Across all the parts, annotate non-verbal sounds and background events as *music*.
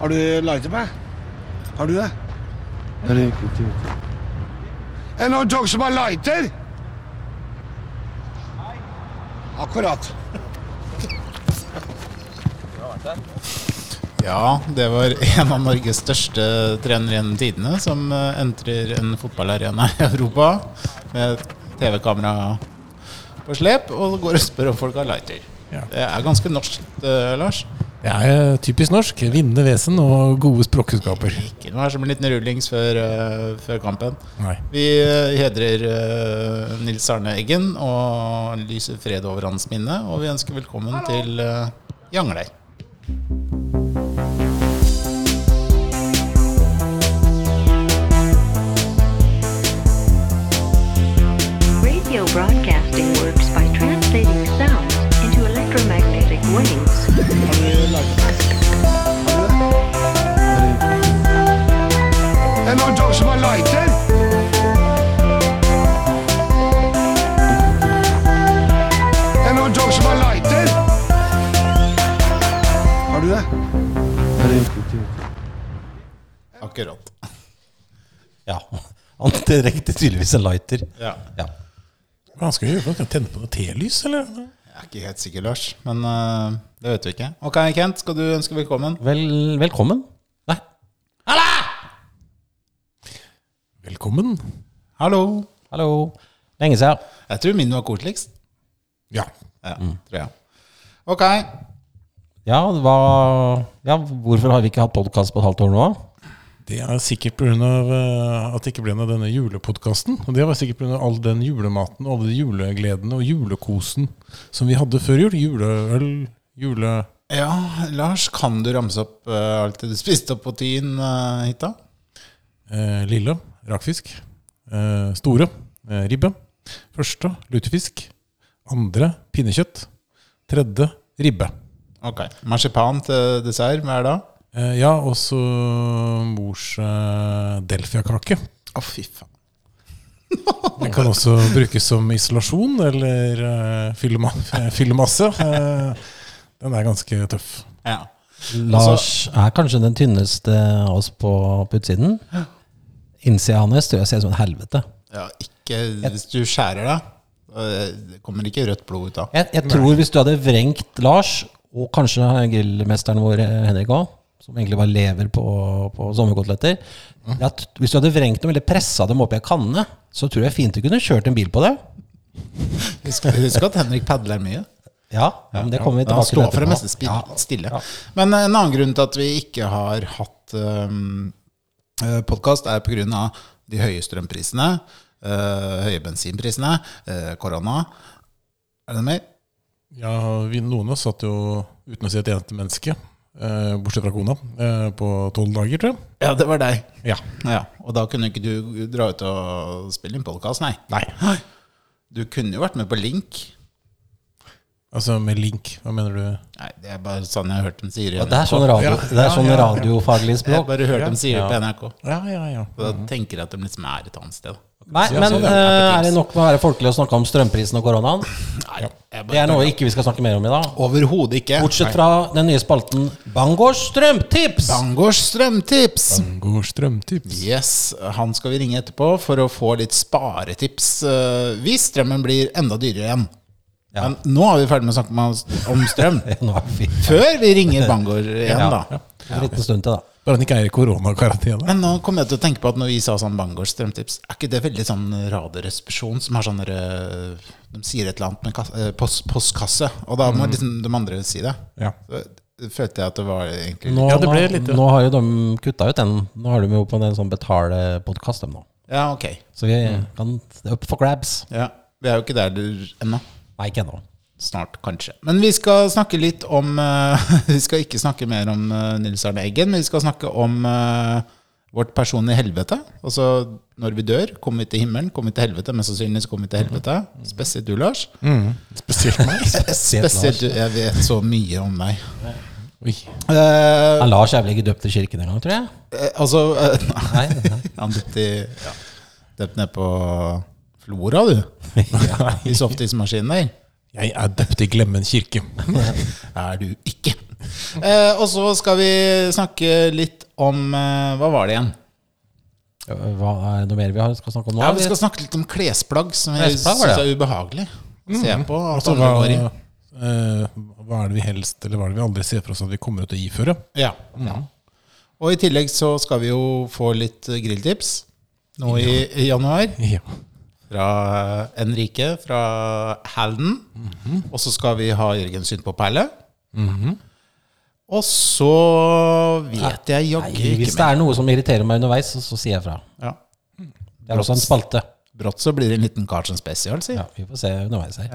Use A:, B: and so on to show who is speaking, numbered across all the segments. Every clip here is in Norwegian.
A: Har du lighter på? Har du det? Anyone talks about lighter? Akkurat.
B: Ja, det var *laughs* en av Norges største trenere gjennom tidene som eh, entrer en fotballarena i Europa med et TV-kamera på slep og går og spør om folk har lighter.
C: Ja.
B: Det er ganske norsk, eh, Lars.
C: Det er eh, typisk norsk. Vinnende vesen og gode språkkunnskaper.
B: Ikke noe her som en liten rullings før, eh, før kampen.
C: Nei.
B: Vi eh, hedrer eh, Nils Arne Eggen og lyser fred over hans minne, og vi ønsker velkommen til eh, Jangleid.
D: Radio broadcasting works by translating sounds into electromagnetic waves.
A: Har du lighter på? Har du det? Anyone talks about lighter? Anyone talks about lighter? Har du det?
B: Akkurat.
E: Ja. Han direkte tydeligvis en lighter.
B: Ja.
E: Ja.
C: Hva skal vi gjøre? Skal vi tenne på noe telys, eller?
B: Jeg er ikke helt sikker, Lars, men eh, det vet vi ikke. Ok, Kent, skal du ønske velkommen?
E: Vel, velkommen. Nei.
C: Velkommen.
B: Hallo!
E: Hallo. Lenge siden.
B: Jeg tror min var koseligst.
C: Ja.
B: Ja, tror jeg. Ok.
E: Ja, hva, ja, hvorfor har vi ikke hatt podkast på et halvt år nå?
C: Det er sikkert pga. eh, at det ikke ble noe av denne julepodkasten. Og det var sikkert pga. all den julematen og alle de julegledene og julekosen som vi hadde før jul. Juleøl, jule...
B: Ja, Lars, kan du ramse opp eh, alt det du spiste opp på tyen eh, hit da?
C: Eh, lille, rakfisk. Eh, store, eh, ribbe. Første, lutefisk. Andre, pinnekjøtt. Tredje, ribbe.
B: Ok. Marsipan til dessert hver dag?
C: Eh, ja, og så mors eh, delfiakake.
B: Å, fy faen.
C: *laughs* Den kan også brukes som isolasjon eller eh, fylle ma- eh, fylle masse. Eh, den er ganske tøff.
B: Ja. Altså-
E: Lars er kanskje den tynneste av oss på, på utsiden. Innsida hans tror jeg ser ut som et helvete.
B: ja, ikke hvis du skjærer deg. eh, Det kommer ikke rødt blod ut da.
E: Jeg, jeg tror hvis du hadde vrengt Lars, og kanskje grillmesteren vår eh, Henrik òg, som egentlig bare lever på, på sommerkoteletter
B: Mm.
E: at Hvis du hadde vrengt dem eller pressa dem oppi ei kanne, så tror jeg fint du kunne kjørt en bil på det.
B: Husk, husk at Henrik padler mye.
E: Ja, men det kommer vi
B: Ja, Han
E: tilbake
B: står for det
E: etterpå.
B: meste spi- stille. Men eh, en annen grunn til at vi ikke har hatt um, podkast, er pga. de høye strømprisene, eh, høye bensinprisene, eh, korona. Er det noe mer?
C: Ja, vi, noen av oss satt jo uten å se et eneste menneske, eh, bortsett fra kona, eh, på tolv dager, tror jeg.
B: Ja, det var deg.
C: Ja.
B: Ja, Og da kunne ikke du dra ut og spille inn podkast, nei.
C: Nei.
B: Du kunne jo vært med på link.
C: Altså med link, hva mener du?
B: Nei, det er bare sånn jeg har hørt dem sier
E: Ja, det er sånn, radio, det er sånn radiofaglig
B: Jeg har
E: språk.
B: bare hørt dem sier det på NRK.
C: Ja, ja, ja.
B: Og
E: Mhm.
B: da tenker jeg at de liksom er et annet sted.
E: Nei, men
B: sånn,
E: eh, er det nok med å være folkelig og snakke om strømprisen og koronaen?
B: Nei, jeg
E: Det
B: bare,
E: er noe ikke vi skal snakke mer om i dag.
B: overhodet ikke.
E: Bortsett fra den nye spalten Bangårds strømtips!
B: Bangårds strømtips!
C: Går strømtips.
B: Yes, han skal vi ringe etterpå for å få litt sparetips eh, hvis strømmen blir enda dyrere igjen.
E: Ja.
B: Men nå er vi ferdig med å snakke med, om strøm.
E: *laughs* Nå er vi
B: Før vi ringer
E: *laughs*
B: Bangor igjen,
E: Ja.
B: da.
E: en liten stund til, da.
C: Bare han ikke er i koronakarantene.
B: Men nå kom jeg til å tenke på at når vi sa sånn Bangors strømtips, er ikke det veldig sånn Radioresepsjon som har sånn derre De sier et eller annet med kass- eh, post, postkasse, og da må
E: Mm.
B: liksom de andre si det.
C: Ja.
B: Så følte jeg at det var egentlig
E: Nå,
C: Ja, det ble
E: nå-
C: litt, ja.
E: nå har jo de kutta ut den. Nå har de jo på en sånn betalepodkast, dem nå.
B: Ja, ok.
E: Så vi
B: Mm.
E: kan det er up for grabs.
B: Ja, vi er jo ikke der du- ennå.
E: Nei, ikke ennå.
B: Snart, kanskje. Men vi skal snakke litt om eh, *laughs* Vi skal ikke snakke mer om eh, Nils Arne Eggen, men vi skal snakke om eh, vårt personlige helvete. Altså når vi dør, kommer vi til himmelen, kommer vi til helvete. Mest sannsynlig så kommer vi til helvete. Spesielt du, Lars.
E: Mm.
C: Spesielt meg.
B: Spesielt du. Jeg vet så mye om deg.
C: Oi. *laughs*
B: Eh,
E: Ja, Lars er vel ikke døpt i kirken engang, tror jeg?
B: eh, altså eh,
E: Nei, nei.
B: *laughs* Han døpte ja, døpt ned på Flora,
E: *laughs*
B: du. I softismaskinen der.
C: Jeg er døpt i Glemmen kirke.
B: Er du ikke. Eh, og så skal vi snakke litt om eh, Hva var det igjen?
E: Ja, Hva er det noe mer vi har- skal snakke om nå?
B: Ja, Vi skal snakke litt om klesplagg, som jeg
E: Klesplagg var det, Mm.
B: syns er ubehagelig å se på. At
C: Altså,
B: andre
C: hva,
B: går i.
C: eh, hva er det vi helst, eller hva er det vi aldri ser for oss at vi kommer til å iføre?
B: Ja.
E: Mm.
B: ja. Og i tillegg så skal vi jo få litt eh, grilltips nå i, i januar.
C: Ja.
B: Fra eh, Enrique fra Halden.
E: Mhm.
B: Og så skal vi ha Jørgen syn på perle. Og så vet jeg jaggu
E: Nei,
B: ikke
E: hvis det
B: mer.
E: er noe som irriterer meg underveis, så, så sier jeg fra.
B: Ja.
E: Det er også en spalte.
B: Brått så blir det en liten Carlsen spesial, si.
E: Ja, vi får se underveis her.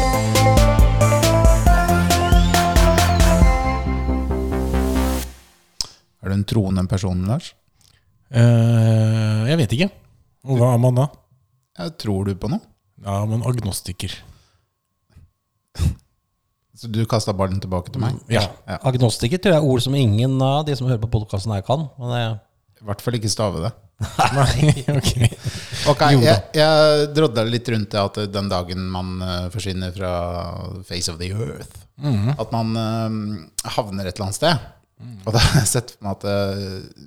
B: Ja. Er du en troende person, Lars?
C: Eh, jeg vet ikke. Og hva er man da?
B: Ja, tror du på noe?
C: Ja, man agnostiker.
B: Så du kasta ballen tilbake til meg?
E: *laughs*
C: Ja.
E: Agnostiker tror jeg er ord som ingen av de som hører på podkasten her, kan. Men eh, det,
B: I hvert fall ikke stave det.
C: Nei, ok.
B: Ok, jeg, jeg drodla litt rundt det at den dagen man eh, forsvinner fra face of the earth, at man eh, havner et eller annet sted. Og da har jeg sett for meg at det,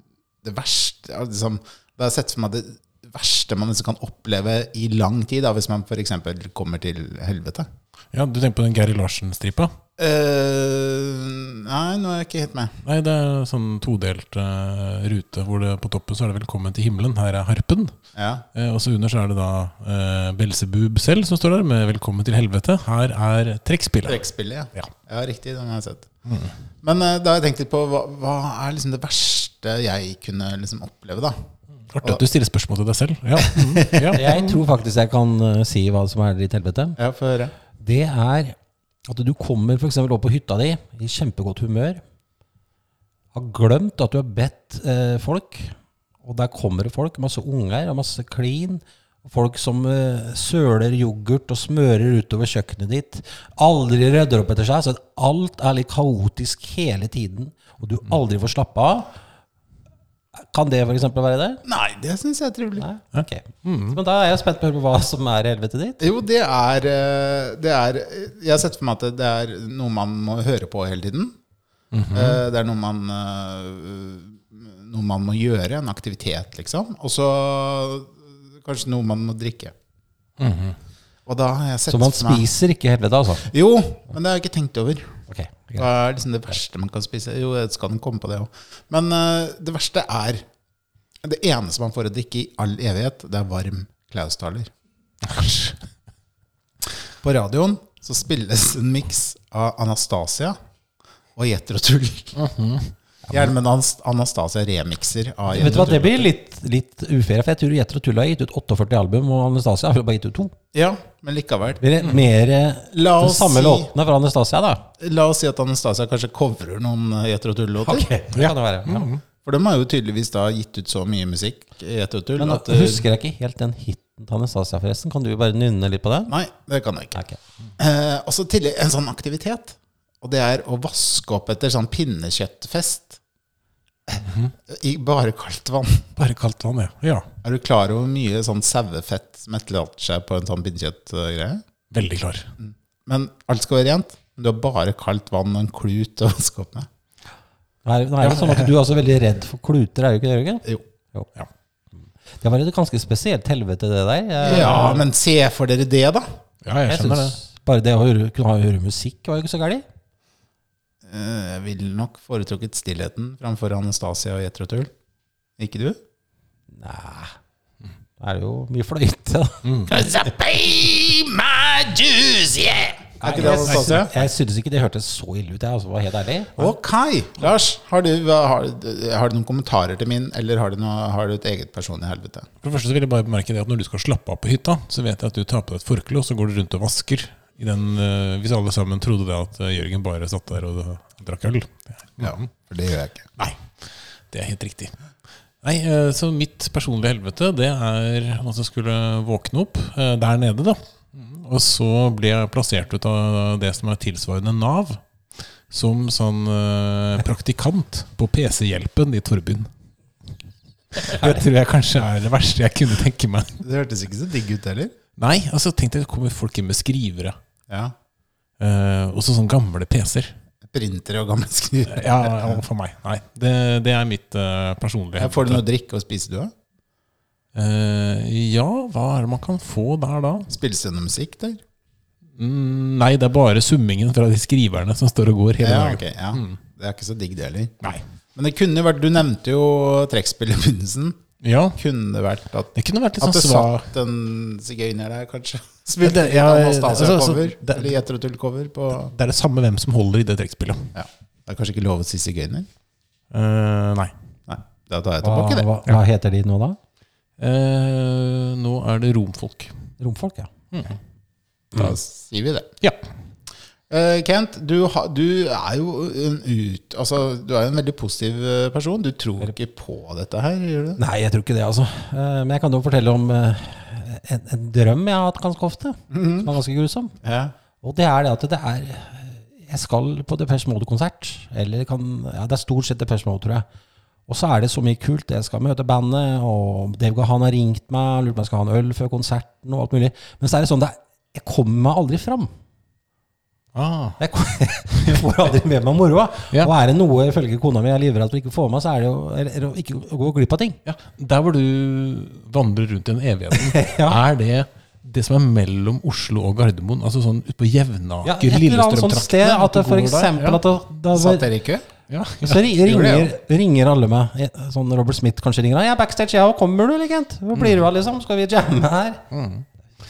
B: det verste ja, liksom, Da har jeg sett for meg det verste man liksom kan oppleve i lang tid, da, hvis man f.eks. kommer til helvete.
C: Ja, du tenker på den Gary Larsen-stripa?
B: Eh, nei, nå er jeg ikke helt med.
C: Nei, det er sånn todelt eh, rute hvor det på toppen så er det 'Velkommen til himmelen', her er harpen.
B: Ja.
C: Eh, og så under så er det da eh, Belzebub selv som står der med 'Velkommen til helvete'. Her er trekkspillet.
B: Trekkspillet, ja.
C: Ja.
B: ja. riktig. Den har jeg sett.
E: Mm.
B: Men eh, da har jeg tenkt litt på hva, hva er liksom det verste jeg kunne liksom oppleve, da?
C: Artig at du stiller spørsmål til deg selv. Ja. Mm, ja.
E: jeg tror faktisk jeg kan eh, si hva som er ditt helvete.
B: Ja, få høre.
E: Det er at du kommer for eksempel opp på hytta di i kjempegodt humør, har glemt at du har bedt eh, folk, og der kommer det folk, masse unger og masse klin, folk som eh, søler yoghurt og smører utover kjøkkenet ditt, aldri rydder opp etter seg, så at alt er litt kaotisk hele tiden, og du aldri får slappe av. Kan det for eksempel være det?
B: Nei, det syns jeg er trivelig.
E: Nei? Ok. Mm. Men da er jeg spent på å høre på hva som er helvetet ditt.
B: Jo, det er, eh, det er Jeg har sett for meg at det er noe man må høre på hele tiden.
E: Mhm.
B: Eh, Det er noe man eh, Noe man må gjøre, en aktivitet, liksom. Og så kanskje noe man må drikke. Og da har jeg sett
E: Mhm. Så man
B: for meg-
E: spiser ikke helvete, altså.
B: Jo, men det har jeg ikke tenkt over.
E: Ok, greit.
B: Hva er liksom det verste man kan spise? Jo, jeg skal den komme på det òg. Men eh, det verste er Det eneste man får å drikke i all evighet, det er varm klaustaler. *laughs* På radioen så spilles en miks av Anastasia og Jetro Tull. Gjerne med en Anast- Anastasia remikser av
E: Mhm. Vet du
B: Jethro
E: hva, Det
B: Tull.
E: blir litt, litt ufair, for jeg tror Jetter og Tull har gitt ut 48 album, og Anastasia har bare gitt ut to.
B: Ja, men likevel.
E: Blir det mer eh,
B: Mm. La
E: de
B: oss
E: samme
B: si-
E: låtene fra Anastasia, da?
B: La oss si at Anastasia kanskje covrer noen Jetro Tull-låter.
E: Ok, det kan det være. Ja.
B: For de har jo tydeligvis da gitt ut så mye musikk, Jetro Tull,
E: Men nå
B: at eh,
E: husker jeg ikke helt den hiten til Anastasia, forresten. Kan du bare nynne litt på den?
B: Nei, det kan jeg ikke.
E: Ok.
B: Eh, og så tillegg en sånn aktivitet. Og det er å vaske opp etter sånn pinnekjøttfest. I bare kaldt vann.
C: Bare kaldt vann, ja. ja.
B: Er du klar over hvor mye sånn sauefett som etterlater seg på en sånn pinnekjøttgreie?
C: Veldig klar.
B: Men alt skal være rent. Men du har bare kaldt vann og en klut å vaske opp med.
E: Nå er, nå er det sånn at Du er også veldig redd for kluter, er du ikke det? Jørgen?
B: Jo.
E: Jo.
C: Ja.
E: Det var et ganske spesielt helvete, det der. Jeg,
B: Ja, men se for dere det, da.
C: Ja, jeg
E: jeg
C: skjønner det.
E: synes Bare det å høre, kunne høre musikk var jo ikke så gærent.
B: Eh, Jeg ville nok foretrukket stillheten framfor Anastasia og Jetro Tull. Ikke du?
E: Nei. Det er jo mye fløyte, da.
B: Cause I pay my dues, yeah! Er ikke det Anastasia?
E: Jeg synes ikke det hørtes så ille ut, jeg, altså, for å være helt ærlig.
B: Ok. Lars, har du, hva- har, har du noen kommentarer til min, eller har du, noe, har du et eget personlig helvete?
C: For det første så vil jeg bare bemerke det at når du skal slappe av på hytta, så vet jeg at du tar på deg et forkle, og så går du rundt og vasker. I den, eh, hvis alle sammen trodde det at eh, Jørgen bare satt der og eh, drakk øl.
B: Ja, for det gjør jeg ikke.
C: Nei, det er helt riktig. Nei, eh, Så mitt personlige helvete, det er at jeg skulle våkne opp eh, der nede, da. Og så ble jeg plassert ut av det som er tilsvarende Nav, som sånn eh, praktikant på PC-hjelpen i Torbyen. Det tror jeg kanskje er det verste jeg kunne tenke meg.
B: Det hørtes ikke så digg ut heller.
C: Nei, altså tenk deg, det kommer folk inn med skrivere.
B: Ja.
C: eh, også sånne gamle PC-er.
B: printere og gamle skruer.
C: Ja, ja, for meg. Nei. Det, det er mitt eh, personlige
B: Får du noe å drikke og spise, du òg?
C: Eh, ja, hva er det man kan få der da?
B: Spilles det noe musikk der?
C: Mm, nei, det er bare summingen fra de skriverne som står og går hele
B: Ja,
C: dagen.
B: ok, ja.
C: Mm.
B: Det er ikke så digg, det heller.
C: Nei.
B: Men det kunne jo vært Du nevnte jo trekkspill i begynnelsen.
C: Ja,
B: Kunne det vært at,
C: det kunne vært litt
B: at det
C: sånn svak
B: satt en sigøyner der, kanskje?
C: *laughs*
B: *laughs*
C: Men
B: Spilte
C: det-
B: litt
C: ja, altså,
B: Anastasia-cover?
C: altså, det-
B: Eller Jetrotull-cover på
C: Det er det samme hvem som holder i det trekkspillet.
B: Ja. Det er kanskje ikke lov å si sigøyner?
C: Eh, nei.
B: Nei. Da tar jeg
E: Hva,
B: tilbake det.
E: hva, hva heter de nå, da?
C: Eh, nå er det romfolk.
E: Romfolk, ja.
B: Da sier vi det.
C: Ja.
B: Eh, Kent, du, ha, du er jo en ut... Altså, du er jo en veldig positiv eh, person. Du tror ikke på dette her, gjør du det?
E: Nei, jeg tror ikke det, altså. Eh, Men jeg kan jo fortelle om eh, en, en drøm jeg har hatt ganske ofte, som er ganske grusom.
B: Ja.
E: Og det er det at det er Jeg skal på Depeche Mode-konsert. Eller kan Ja, det er stort sett Depeche Mode, tror jeg. Og så er det så mye kult. Jeg skal møte bandet, og Dave Gahan har ringt meg, lurt på om jeg skal ha en øl før konserten, og alt mulig. Men så er det sånn det er, Jeg kommer meg aldri fram.
C: Ah.
E: Jeg kom- *laughs* jeg får aldri med meg moroa.
C: Ja.
E: Og er det noe ifølge kona mi jeg er livredd for ikke å få med, så er det jo eller, å ikke å gå glipp av ting.
C: ja. Der hvor du vandrer rundt i den evigheten,
E: *laughs* Ja.
C: er det det som er mellom Oslo og Gardermoen? Altså sånn utpå
E: Ja,
C: Jevnaker,
E: et eller annet sånt sted
C: Lillestrøm-traktene?
E: at det for eksempel at det, da var,
B: Satt dere i kø?
C: Ja.
E: Og Så ri-
B: gjorde
E: ringer,
B: det,
E: ringer alle meg. Jeg- Sånn Robert Smith kanskje ringer. 'Jeg er backstage, jeg òg. Kommer du, eller, Kent? Hvor blir du av, liksom? Skal vi jamme her?'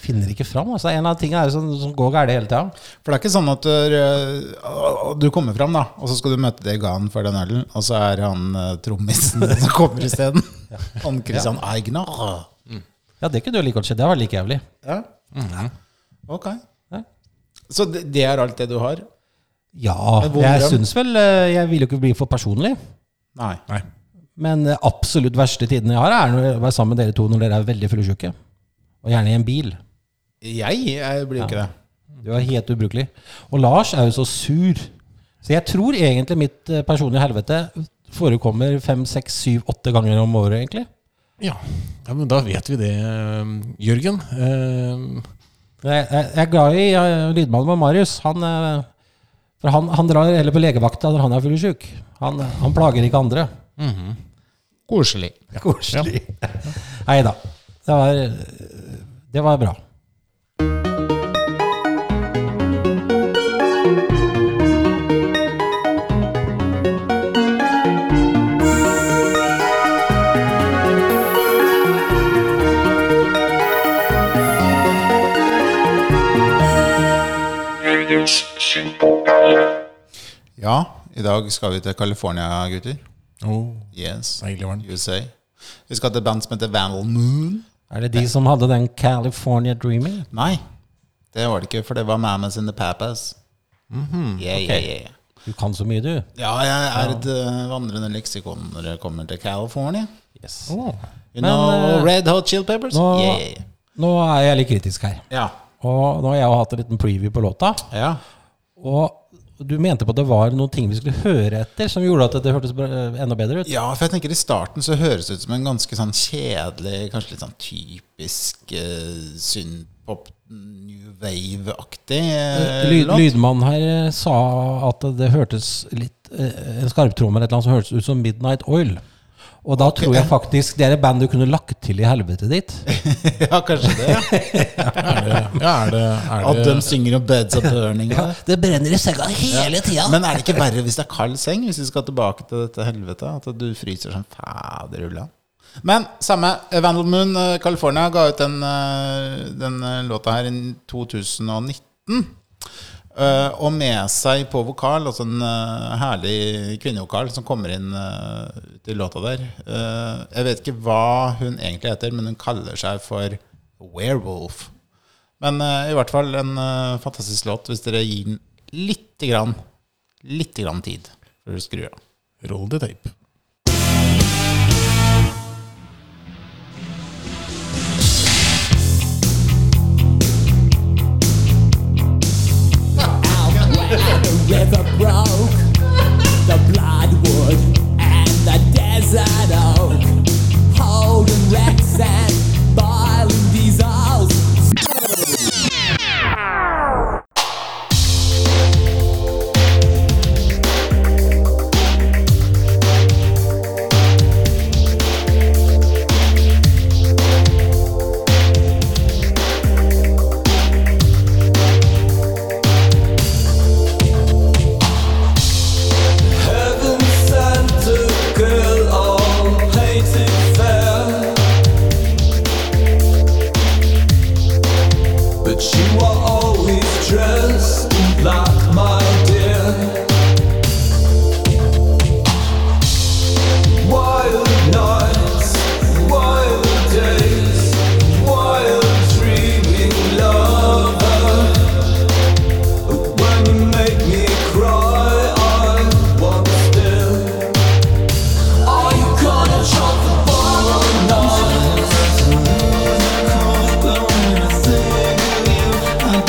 E: Finner ikke fram. altså En av tingene er jo sånn, som går gærent hele tida.
B: For det er ikke sånn at du, øh, du kommer fram, da, og så skal du møte det ganen for den ølen, og så er han øh, trommisen *laughs* som kommer isteden. Han Christian Eigner.
E: Ja, det kunne jo like godt skjedd. Det var like jævlig.
B: Ja. Ok.
E: Ja.
B: Så det, det er alt det du har?
E: Ja,
B: En vond
E: jeg
B: drøm.
E: syns vel eh, Jeg vil jo ikke bli for personlig.
B: Nei.
C: Nei.
E: Men eh, absolutt verste tiden jeg har, er når jeg er sammen med dere to når dere er veldig fullsjuke. Og gjerne i en bil.
B: Jeg, jeg blir jo ikke det.
E: Du er helt ubrukelig. Og Lars er jo så sur. Så jeg tror egentlig mitt eh, personlige helvete forekommer fem, seks, syv, åtte ganger om året, egentlig.
C: Ja. ja, men da vet vi det, Jørgen. Eh,
E: Jeg, jeg, jeg er glad i eh, lydmannen med Marius. Han, eh, for han, han drar heller på legevakta når han er full sjuk. Han, han plager ikke andre.
B: Koselig.
E: Koselig. Nei da. Det var, eh, det var bra.
B: Ja, i dag skal vi til California, gutter.
C: oh,
B: Yes.
C: deilig var den.
B: USA. Vi skal til et band som heter Vandal Moon.
E: Er det de som hadde den California Dreaming?
B: Nei, det var det ikke, for det var Mamas in the Papas.
E: Mhm,
B: yeah, yeah, yeah.
E: Du kan så mye, du.
B: Ja, jeg er et eh, vandrende leksikon når jeg kommer til California.
E: Yes.
B: You
E: Men,
B: know
E: eh,
B: Red Hot Chili Peppers?
E: Nå,
B: yeah, yeah, yeah.
E: nå er jeg litt kritisk her.
B: Ja.
E: Og nå har jeg jo hatt en liten preview på låta.
B: ja.
E: Og du mente på at det var noen ting vi skulle høre etter, som gjorde at det hørtes bra- eh, enda bedre ut.
B: Ja, for jeg tenker i starten så høres det ut som en ganske sånn kjedelig, kanskje litt sånn typisk uh, synpop, new wave-aktig eh,
E: Lyd,
B: låt.
E: lydmannen her eh, sa at det hørtes litt eh, En skarptromme eller et eller annet som hørtes ut som Midnight Oil. Og da tror jeg faktisk det er et band du kunne lagt til i helvete ditt.
B: *laughs* ja, kanskje det. ja.
C: Er det, ja, er det, er
B: At
C: det
B: de synger om beds of burning. der.
E: *laughs* Det brenner i senga hele tida!
B: Men er det ikke verre hvis det er kald seng? Hvis vi skal tilbake til dette helvete? At du fryser som faderulla? Men samme. eh, Vandal Moon, eh, California, ga ut den, eh, den eh, låta her i 2019. Eh, og med seg på vokal, altså en eh, herlig kvinnevokal som kommer inn eh, ut i låta der. Eh, jeg vet ikke hva hun egentlig heter, men hun kaller seg for Werewolf. Men eh, i hvert fall en eh, fantastisk låt hvis dere gir den lite grann, lite grann tid før du skrur av.
C: Roll the tape.
F: river broke, the bloodwood and the desert oak, holding wrecks and boiling diesels.
G: just like my dear. Wild nights, wild days, wild dreaming lover. When you make me cry, I want still. Are you gonna jump the bar or not?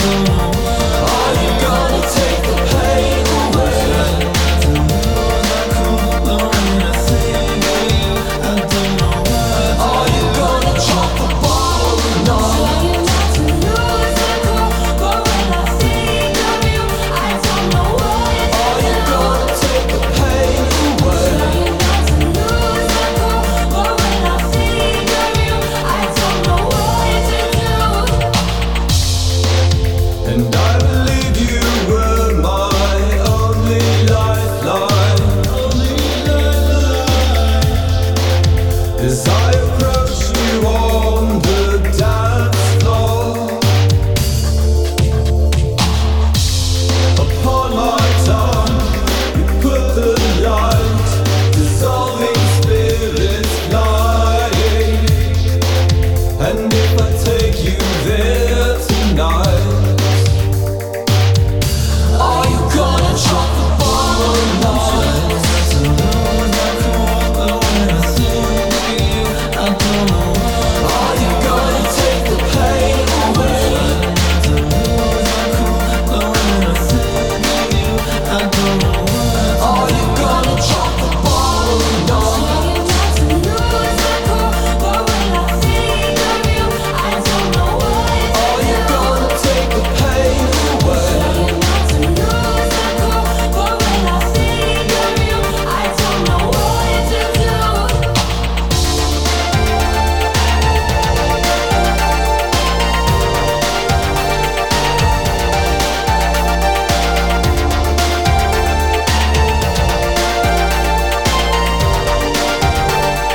G: Are you gonna take the pain away? Are you gonna chop the ball or not? Are you gonna take the pain away? And I believe you were my only lifeline. As I approach you on the dance floor, upon my tongue you put the light, dissolving spirits flying. And if I take you there tonight. Are you gonna chop the ball or not? Are you gonna take the pain away? Are you gonna chop the ball or not? Are you gonna take the pain away?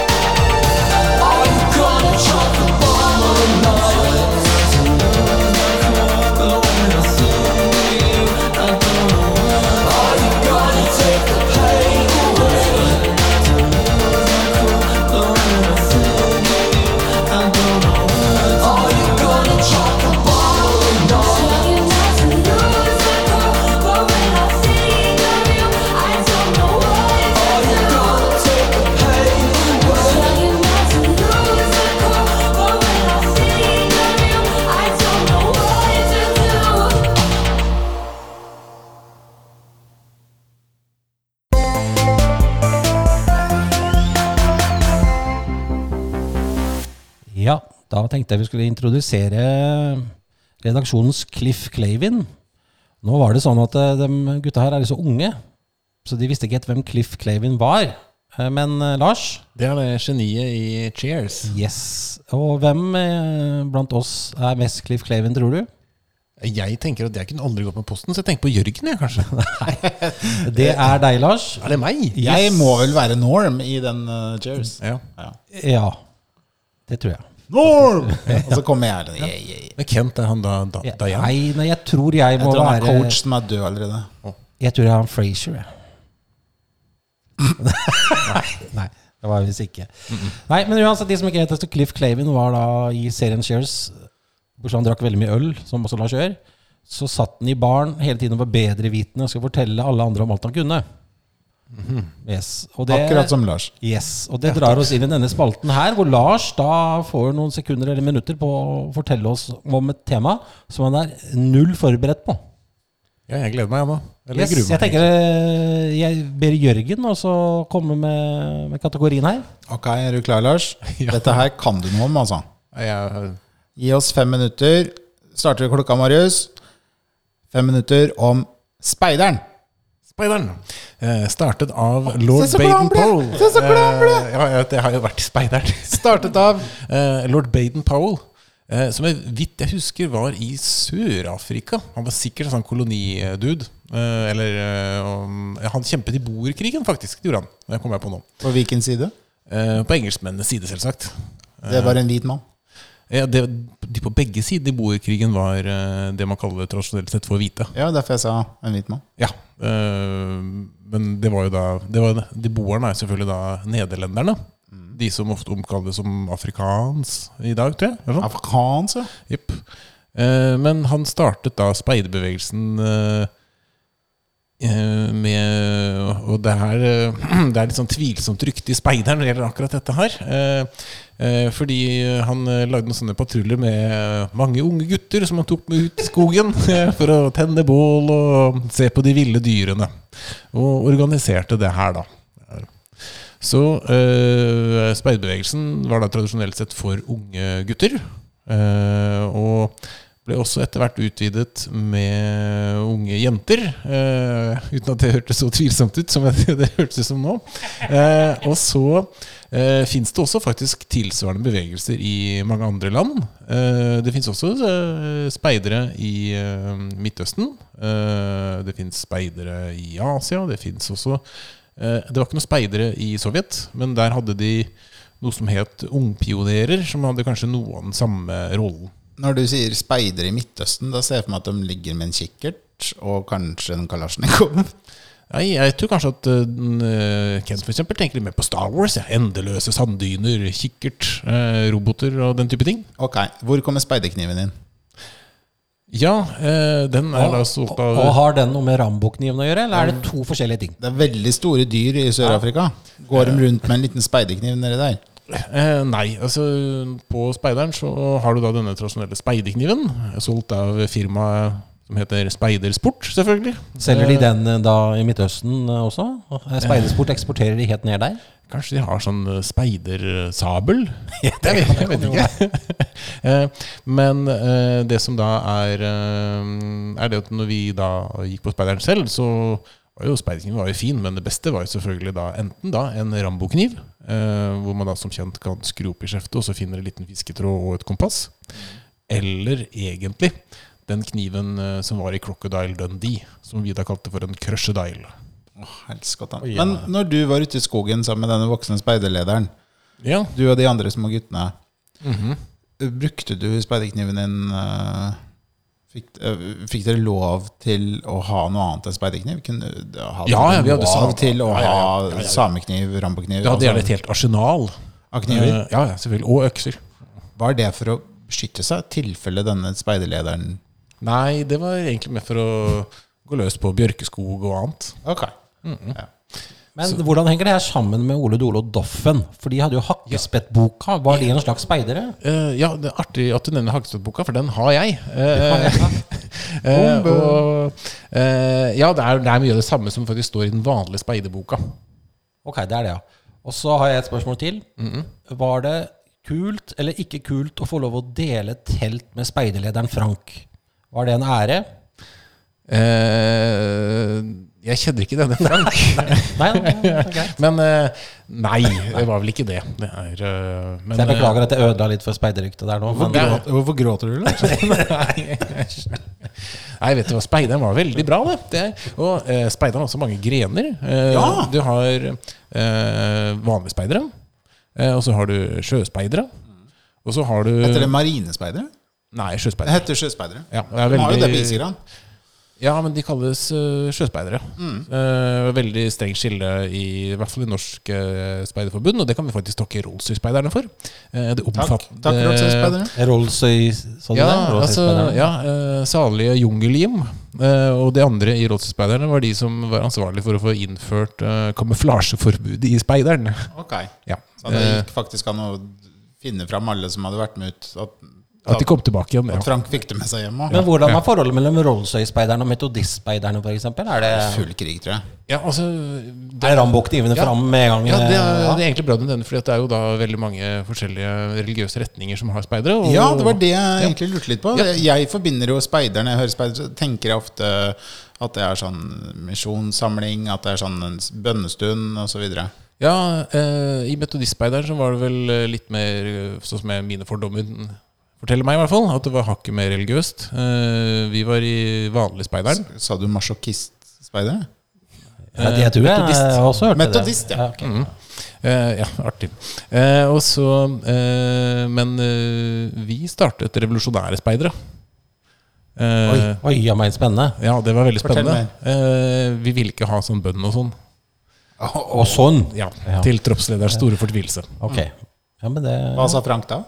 G: Are you gonna chop the ball or not? Are you gonna take the pain away? Are you gonna chop the ball or not? Are you gonna take the pain away?
E: Ja, da tenkte jeg vi skulle introdusere redaksjonens Cliff Clavin. Nå var det sånn at eh, de gutta her er så unge, så de visste ikke helt hvem Cliff Clavin var. Eh, Men eh, Lars,
C: Det er det geniet i Cheers.
E: yes. Og hvem eh, blant oss er mest Cliff Clavin, tror du?
C: Jeg tenker at jeg kunne aldri gått med posten, så jeg tenker på Jørgen, jeg, kanskje.
E: Det er deg, Lars.
C: Er det meg?
B: Jeg må vel være Norm i den eh, Cheers.
C: Ja.
E: Ja, det tror jeg.
B: Norm! Og så kommer jeg. eller, Yeah, yeah, yeah.
C: Men Kent, er han da, da, da jeg?
E: Nei, nei, jeg tror jeg
B: Jeg
E: må
B: tror han er
E: være
B: coach som er død allerede.
E: Jeg tror jeg er han Frazier,
B: *laughs*
E: jeg. nei, nei, det var jeg visst ikke. Nei, men uansett, de som ikke vet det, Cliff Clavin var da i serien Cheers. Bortsett han drakk veldig mye øl, som også Lars gjør. Så satt han i baren hele tiden og var bedrevitende og skulle fortelle alle andre om alt han kunne. Yes, og det,
B: Mm-hmm. Akkurat som Lars.
E: Yes, og det drar oss inn i denne spalten her, hvor Lars da får noen sekunder eller minutter på å fortelle oss om et tema som han er null forberedt på.
C: Ja, jeg gleder meg, jeg nå. Eller jeg
E: Yes,
C: gruer meg.
E: jeg tenker eh, jeg ber Jørgen også komme med, med kategorien her.
B: Ok, er du klar, Lars?
C: Ja.
B: Dette her kan du noe om, altså.
C: Jeg,
B: Gi oss fem minutter. Starter vi klokka, Marius? Fem minutter om speideren.
C: Speideren. Eh, startet av lord
B: så glad han ble!
C: Baden-Powell.
B: Se så glad han ble!
C: Eh, ja, ja, det har jo vært speideren.
B: Startet av
C: Eh, lord Baden-Powell, eh, som jeg vidt jeg husker var i Sør-Afrika. Han var sikkert en sånn kolonidude. Eh, eller eh, om- ja, Han kjempet i boerkrigen, faktisk. Det gjorde han. Det kommer jeg på nå.
B: På hvilken side?
C: Eh, på engelskmennenes side, selvsagt.
B: Det var en hvit mann.
C: Ja, det, de på begge sider i boerkrigen var eh, det man kaller tradisjonelt sett for hvite.
B: Ja, derfor jeg sa en hvit mann.
C: Ja, eh, Men det var jo da det var, De boerne er selvfølgelig da nederlenderne. De som ofte omkalles som afrikans i dag, tror jeg. eller sånn.
B: Afrikansk, ja.
C: Jepp. Eh, Men han startet da speiderbevegelsen eh, eh, med Og det er, eh, *clears throat* det er litt sånn tvilsomt rykte i speideren når det gjelder akkurat dette her. Eh, eh, Fordi han eh, lagde noen sånne patruljer med eh, mange unge gutter som han tok med ut i skogen *laughs* eh, for å tenne bål og se på de ville dyrene. Og organiserte det her, da. Så eh, speiderbevegelsen var da tradisjonelt sett for unge gutter. eh, og ble også etter hvert utvidet med unge jenter. eh, uten at det hørtes så tvilsomt ut som det det hørtes ut som nå. Eh, og så uh, fins det også faktisk tilsvarende bevegelser i mange andre land. Eh, det fins også eh, speidere i eh, Midtøsten. Eh, det fins speidere i Asia. Det fins også Eh, Det var ikke noen speidere i Sovjet, men der hadde de noe som het ungpionerer, som hadde kanskje noe av den samme rollen.
B: Når du sier speidere i Midtøsten, da ser jeg for meg at de ligger med en kikkert og kanskje en kalasjnikov.
C: Nei, jeg tror kanskje at eh, den, eh, Kent for eksempel tenker litt mer på Star Wars. Ja. Endeløse sanddyner, kikkert, eh, roboter og den type ting.
B: *laughs* Ok, hvor kommer speiderkniven inn?
C: Ja, eh, den er da solgt
E: og,
C: av
E: og har den noe med Rambo-kniven å gjøre, eller er det to forskjellige ting?
B: Det er veldig store dyr i Sør-Afrika. Går de rundt med en liten speiderkniv nedi der?
C: Eh, nei, altså på speideren så har du da denne tradisjonelle speiderkniven. Solgt av firmaet som heter Speidersport, selvfølgelig.
E: Selger de den eh, da i Midtøsten eh, også? Eh, Speidersport eksporterer de helt ned der?
C: Kanskje de har sånn eh, *laughs* speidersabel? Jeg vet, jeg vet ikke. *laughs* Eh, Men eh, det som da er eh, Er det at når vi da gikk på speideren selv, så var jo speiderkniven var jo fin, men det beste var jo selvfølgelig da enten da en rambokniv, eh, hvor man da som kjent kan skru opp i skjeftet, og så finner en liten fisketråd og et kompass. Eller egentlig den kniven eh, som var i Crocodile Dundee, som vi da kalte for en crocodile.
B: Helskotta. Men når du var ute i skogen sammen med denne voksne speiderlederen,
C: Ja,
B: du og de andre små guttene,
C: Mhm.
B: brukte du speiderkniven din eh, Fikk, eh, fikk dere lov til å ha noe annet enn speiderkniv? Kunne- Hadde
C: Ja, ja,
B: dere
C: vi hadde
B: lov
C: sam-
B: til å
C: ja, ja, ja, ja, ja,
B: ha
C: ja.
B: samekniv, rambokniv?
C: Du hadde
B: altså-
C: gjerne et helt arsenal.
B: Av kniver?
C: Eh, Ja, ja, selvfølgelig. Og økser.
B: Var det for å beskytte seg, i tilfelle denne speiderlederen
C: Nei, det var egentlig mer for å gå løs på bjørkeskog og annet.
B: Ok.
E: Men hvordan henger det her sammen med Ole Dole og Doffen? For de hadde jo Hakkespettboka. Var de en slags speidere?
C: Eh, ja, det er artig at du nevner Hagestad-boka, for den har jeg. Eh, eh, *laughs* og, eh, ja, det er, det er mye av det samme som faktisk står i den vanlige speiderboka.
E: Ok, det er det, ja. Og så har jeg et spørsmål til. Var det kult eller ikke kult å få lov å dele telt med speiderlederen Frank? Var det en ære?
C: Eh, jeg kjenner ikke denne *laughs* Frank,
E: Nei, nei, ok.
C: men eh, nei, det var vel ikke det. det er, eh, men,
E: Så jeg beklager at jeg ødela litt for speiderryktet der nå. Men,
C: Ja.
B: Hvorfor gråter du, eller?
C: *laughs* Nei, Nei, vet du hva, speideren var veldig bra, det. det er- og eh, speideren har også mange grener. Eh,
B: Ja!
C: Du har eh, vanlige speidere, eh, og så har du sjøspeidere. Og så har du
B: Heter det marinespeidere?
C: Nei,
B: Det
C: sjøspeidere.
B: heter sjøspeidere.
C: Eh. Ja, det er
B: De har jo det på
C: veldig,
B: Isegran.
C: ja, men de kalles eh, sjøspeidere.
B: Mm.
C: Eh, veldig strengt skille i, i hvert fall i Norsk eh, Speiderforbund, og det kan vi faktisk takke Rolls-Royce-speiderne for. Eh, det
B: Takk,
C: omfattende
B: takk Rolls-Royce-speidere.
E: Rolls-Royce, sånn
C: Ja,
E: der,
C: altså,
E: Rolls-Royce-speideren.
C: ja eh, salige Jungelhjem eh, og de andre i Rådsespeiderne var de som var ansvarlige for å få innført eh, kamuflasjeforbudet i speideren.
B: Ok.
C: Ja.
B: Så det
C: eh,
B: gikk faktisk an å finne fram alle som hadde vært med ut. At,
C: eh, At de kom tilbake igjen.
B: at
C: Ja.
B: Frank fikk det med seg hjem
E: Men
B: òg.
E: hvordan er forholdet mellom Rolls-Royce-speiderne og metodistspeiderne f.eks.? Er det
B: Full krig, tror jeg.
C: Ja, altså,
E: Er Rambo-knivene
C: Ja.
E: fram med en gang?
C: ja, det, er,
E: eh, ja?
C: det er egentlig bra du nevner, for det er jo da veldig mange forskjellige religiøse retninger som har speidere. og-
B: Ja, det var det jeg egentlig lurte litt på.
C: Ja.
B: Jeg forbinder jo speideren jeg hører speider, så tenker jeg ofte at det er sånn misjonssamling, at det er sånn en s- bønnestund osv.
C: Ja, eh, i metodistspeideren så var det vel eh, litt mer eh, sånn som jeg- mine fordommer n- forteller meg, i hvert fall. At det var hakket mer religiøst. Eh, vi var i vanlig speideren.
B: Sa du masochistspeider?
E: Ja, det tror jeg.
C: Metodist.
E: Jeg har også hørt det.
B: Metodist, ja.
E: ok.
C: Eh, ja, artig. Eh, og så, eh, men eh, vi startet Revolusjonære speidere. Eh,
E: Oi, oi, ja, men spennende.
C: Ja, det var veldig
B: Fortell
C: spennende. Eh, vi ville ikke ha sånn bønn og sånn.
E: Og sånn.
C: Ja,
E: Ja.
C: Til troppslederens store fortvilelse.
E: Ok. Ja, men det
B: Hva sa Frank da?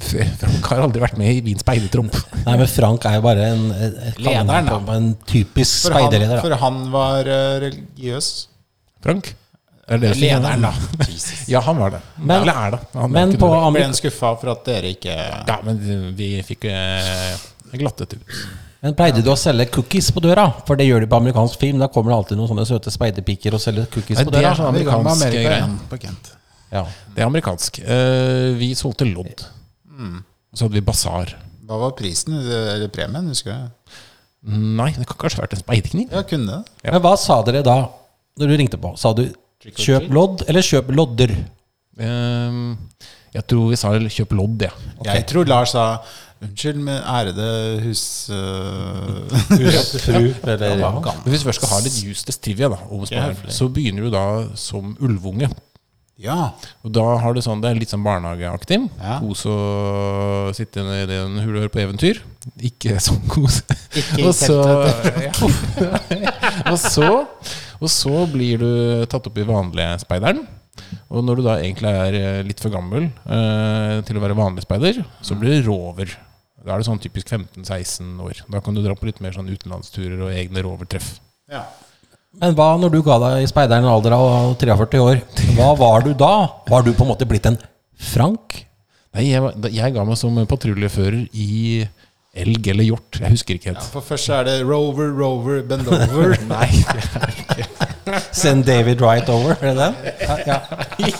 C: Frank har aldri vært med i Wien speidertropp.
E: Nei, men Frank er jo bare en, et, et
B: Lederen,
E: kallenavn på-
B: da.
E: på En typisk
B: For han,
E: speiderleder. da.
B: for han var eh, religiøs.
C: Frank? Er det det som-
B: Lederen, da.
C: *laughs* Ja, han var det.
E: Men-
C: Eller er det. Han er
E: Men
C: ikke
E: på
C: noe-
B: Ble
E: amerik
B: han skuffa for at dere ikke
C: Ja, men vi fikk eh, glattet ut.
E: Men pleide du å selge cookies på døra? For det gjør de på amerikansk film. Da kommer det alltid noen sånne søte speiderpiker og selger
C: Nei,
E: cookies på
C: det
E: døra.
C: er sånn
B: Vi var med
C: amerikansk
B: Amerika
C: greie.
B: igjen på Kent.
E: Ja.
C: Det er amerikansk. Eh, vi solgte lodd. Så hadde vi basar.
B: Hva var prisen, eller premien? Husker jeg.
C: Nei, det kan kanskje ha vært en speiderkniv?
B: Ja, kunne det.
C: Ja.
E: Men hva sa dere da når du ringte på? Sa du kjøp lodd eller kjøp lodder?
C: Eh, jeg tror vi sa 'kjøp lodd', jeg. Ja.
B: Jeg tror Lars sa Unnskyld, men ærede hus... øh, *laughs*
E: Husfru eller ja,
C: Men Hvis vi først skal ha litt justes trivia, da, om speider, så begynner du da som ulvunge.
B: ja.
C: Og da har du sånn, Det er litt sånn barnehageaktig.
B: Ja.
C: Kos og sitte nede i en hule og høre på eventyr. Ikke *laughs* sånn kos.
B: Ikke i
C: og, så, *laughs* og, så, og så blir du tatt opp i vanlige speideren. Og når du da egentlig er eh, litt for gammel eh, til å være vanlig speider, så blir du rover. Da er du sånn typisk 15-16 år. Da kan du dra på litt mer sånn utenlandsturer og egne rovertreff.
B: ja.
E: Men hva når du ga deg i speideren i en alder av 43 år? Hva var du da? Var du på en måte blitt en Frank?
C: Nei, jeg, var- da- jeg ga meg som patruljefører i elg eller hjort. Jeg husker ikke helt.
B: For først så er det Rover, Rover, bend over. *laughs* Nei.
E: Send David right over? Er det den?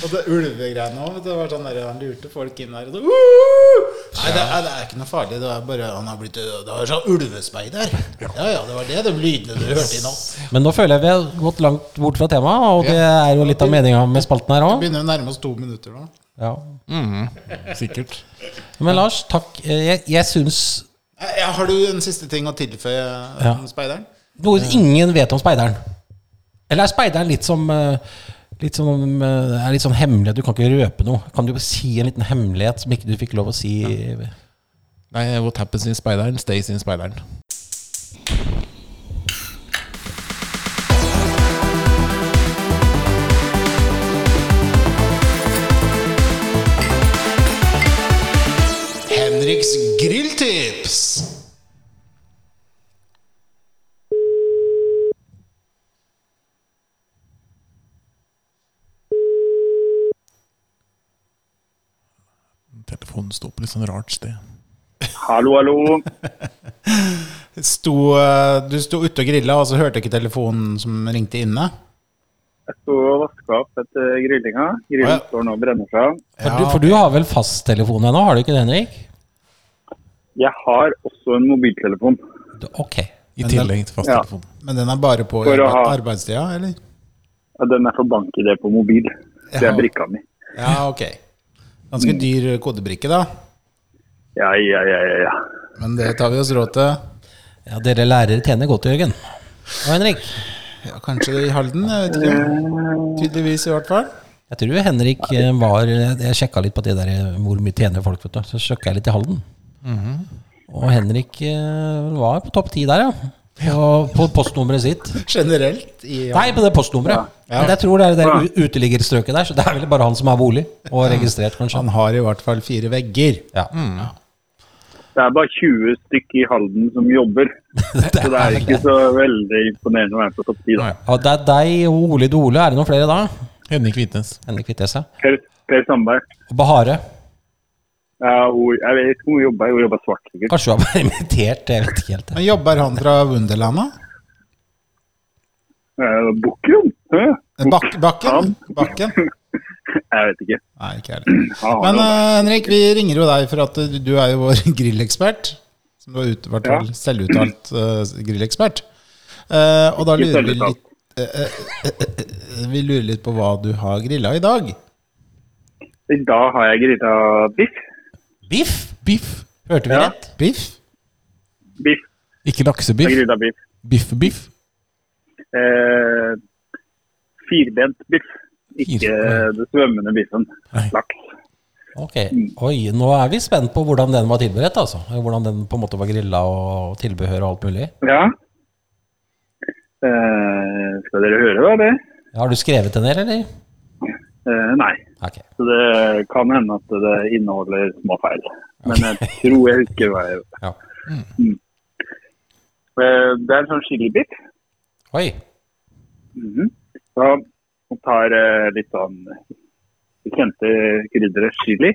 B: Og det ulvegreiene òg. Det var sånn der, han lurte folk inn der. Og så, «Uh!» Nei, det er, det er ikke noe farlig. Det er bare han har blitt Det var sånn ulvespeider. Ja ja, det var det de lydene du hørte i natt.
E: Men nå føler jeg vi har gått langt bort fra temaet, og det er jo litt av meninga med spalten her òg.
B: Begynner å nærme oss to minutter nå.
E: Ja.
C: Sikkert.
E: Men Lars, takk. Eh, Jeg, jeg syns
B: Eh, ja, Har du en siste ting å tilføye
E: Ja.
B: om speideren?
E: noe ingen vet om speideren. Eller er speideren litt som eh, Litt som, eh, er litt sånn hemmelig, du kan ikke røpe noe. Kan du si en liten hemmelighet som ikke du fikk lov å si?
C: Nei, what happens in speideren stays in speideren.
B: Henriks grilltips!
C: Telefonen står på litt sånn rart sted.
H: Hallo, hallo.
B: Sto, eh, du sto ute og grilla, og så hørte ikke telefonen som ringte inne?
H: Jeg sto og vaska opp etter eh, grillinga.
B: Ja.
H: Grillen står nå og brenner seg. av.
E: For, du, for du har vel fasttelefon ennå, har du ikke det, Henrik?
H: Jeg har også en mobiltelefon.
E: Du- Ok.
C: I tillegg til
H: Ja.
C: fasttelefonen.
B: Men den er bare på
H: For å
B: arbe-
H: ha-
B: arbeidstida, eller?
H: Ja, Den er for bank-ID på mobil. Det
B: Ja.
H: er brikka mi.
B: Ja, ok. Ganske dyr kodebrikke, da.
H: Ja, ja, ja, ja, ja.
B: Men det tar vi oss råd til.
E: Ja, dere lærere tjener godt, Jørgen. Og Henrik.
B: Ja, kanskje det i Halden. Jeg vet ikke. Tydeligvis, i hvert fall.
E: Jeg tror Henrik eh, var Jeg sjekka litt på det der eh, hvor mye tjener folk, vet du. Så sjekka jeg litt i Halden.
B: Mhm.
E: Og Henrik eh, var på topp ti der, ja. Og på postnummeret sitt.
B: Generelt. I
E: Nei, på det postnummeret. Men jeg tror det er det der u- uteliggerstrøket der, så det er vel bare han som har bolig og er registrert, kanskje.
B: Han har i hvert fall fire vegger. Mm.
E: Ja. *laughs*
H: Det er bare 20 stykker i Halden som jobber. Så det er ikke så veldig imponerende å være på topp 10, da.
C: Nei.
E: Ja, det er deg og Ole Dole. Er det noen flere da?
C: Henrik Hvitnes.
E: Henrik Kvitnes, ja.
H: Per, per Sandberg.
E: Og Bahare.
H: Ja, hun, jeg vet ikke om hun jobber. Hun jobber svart, sikkert.
E: Kanskje hun har vært *laughs* invitert, jeg vet ikke helt.
B: Men jobber han fra Wunderland, da?
H: Eh, Bukkrum? Hæ?
B: Eh, Bak bakken? Bakken?
H: Jeg vet ikke.
B: Nei, ikke heller.
H: Han har
B: Men
H: noe.
B: eh, Henrik, vi ringer jo deg for at eh, du- du er jo vår *laughs* grillekspert. Som du har ut, vært
H: Ja.
B: vel selvuttalt eh, grillekspert. Eh, og da
H: Ikke
B: lurer vi
H: selvuttalt.
B: litt eh, eh, eh, eh, Vi lurer litt på hva du har grilla i dag.
H: I dag har jeg grilla biff.
E: Biff? Biff. Hørte vi
H: Ja.
E: rett?
B: Biff?
H: Biff.
C: Ikke
H: Jeg
C: laksebiff.
H: grilla biff.
C: Biff-biff.
H: Eh, Firbent biff. Ikke
C: Firbent.
H: det svømmende biffen.
C: Nei.
H: Laks.
E: Ok, oi, Nå er vi spent på hvordan den var tilberedt. altså. Hvordan den på en måte var grilla og tilbehør og alt mulig.
H: Ja. Eh, skal dere høre hva det er?
E: Har du skrevet den ned, eller?
H: Eh, nei.
E: Ok,
H: Så det kan hende at det inneholder små feil. Men jeg tror jeg husker hva jeg gjorde.
E: ja.
H: Eh, Det er en sånn chilibiff.
E: Oi.
H: Så man tar eh, litt sånn det kjente krydderet chili.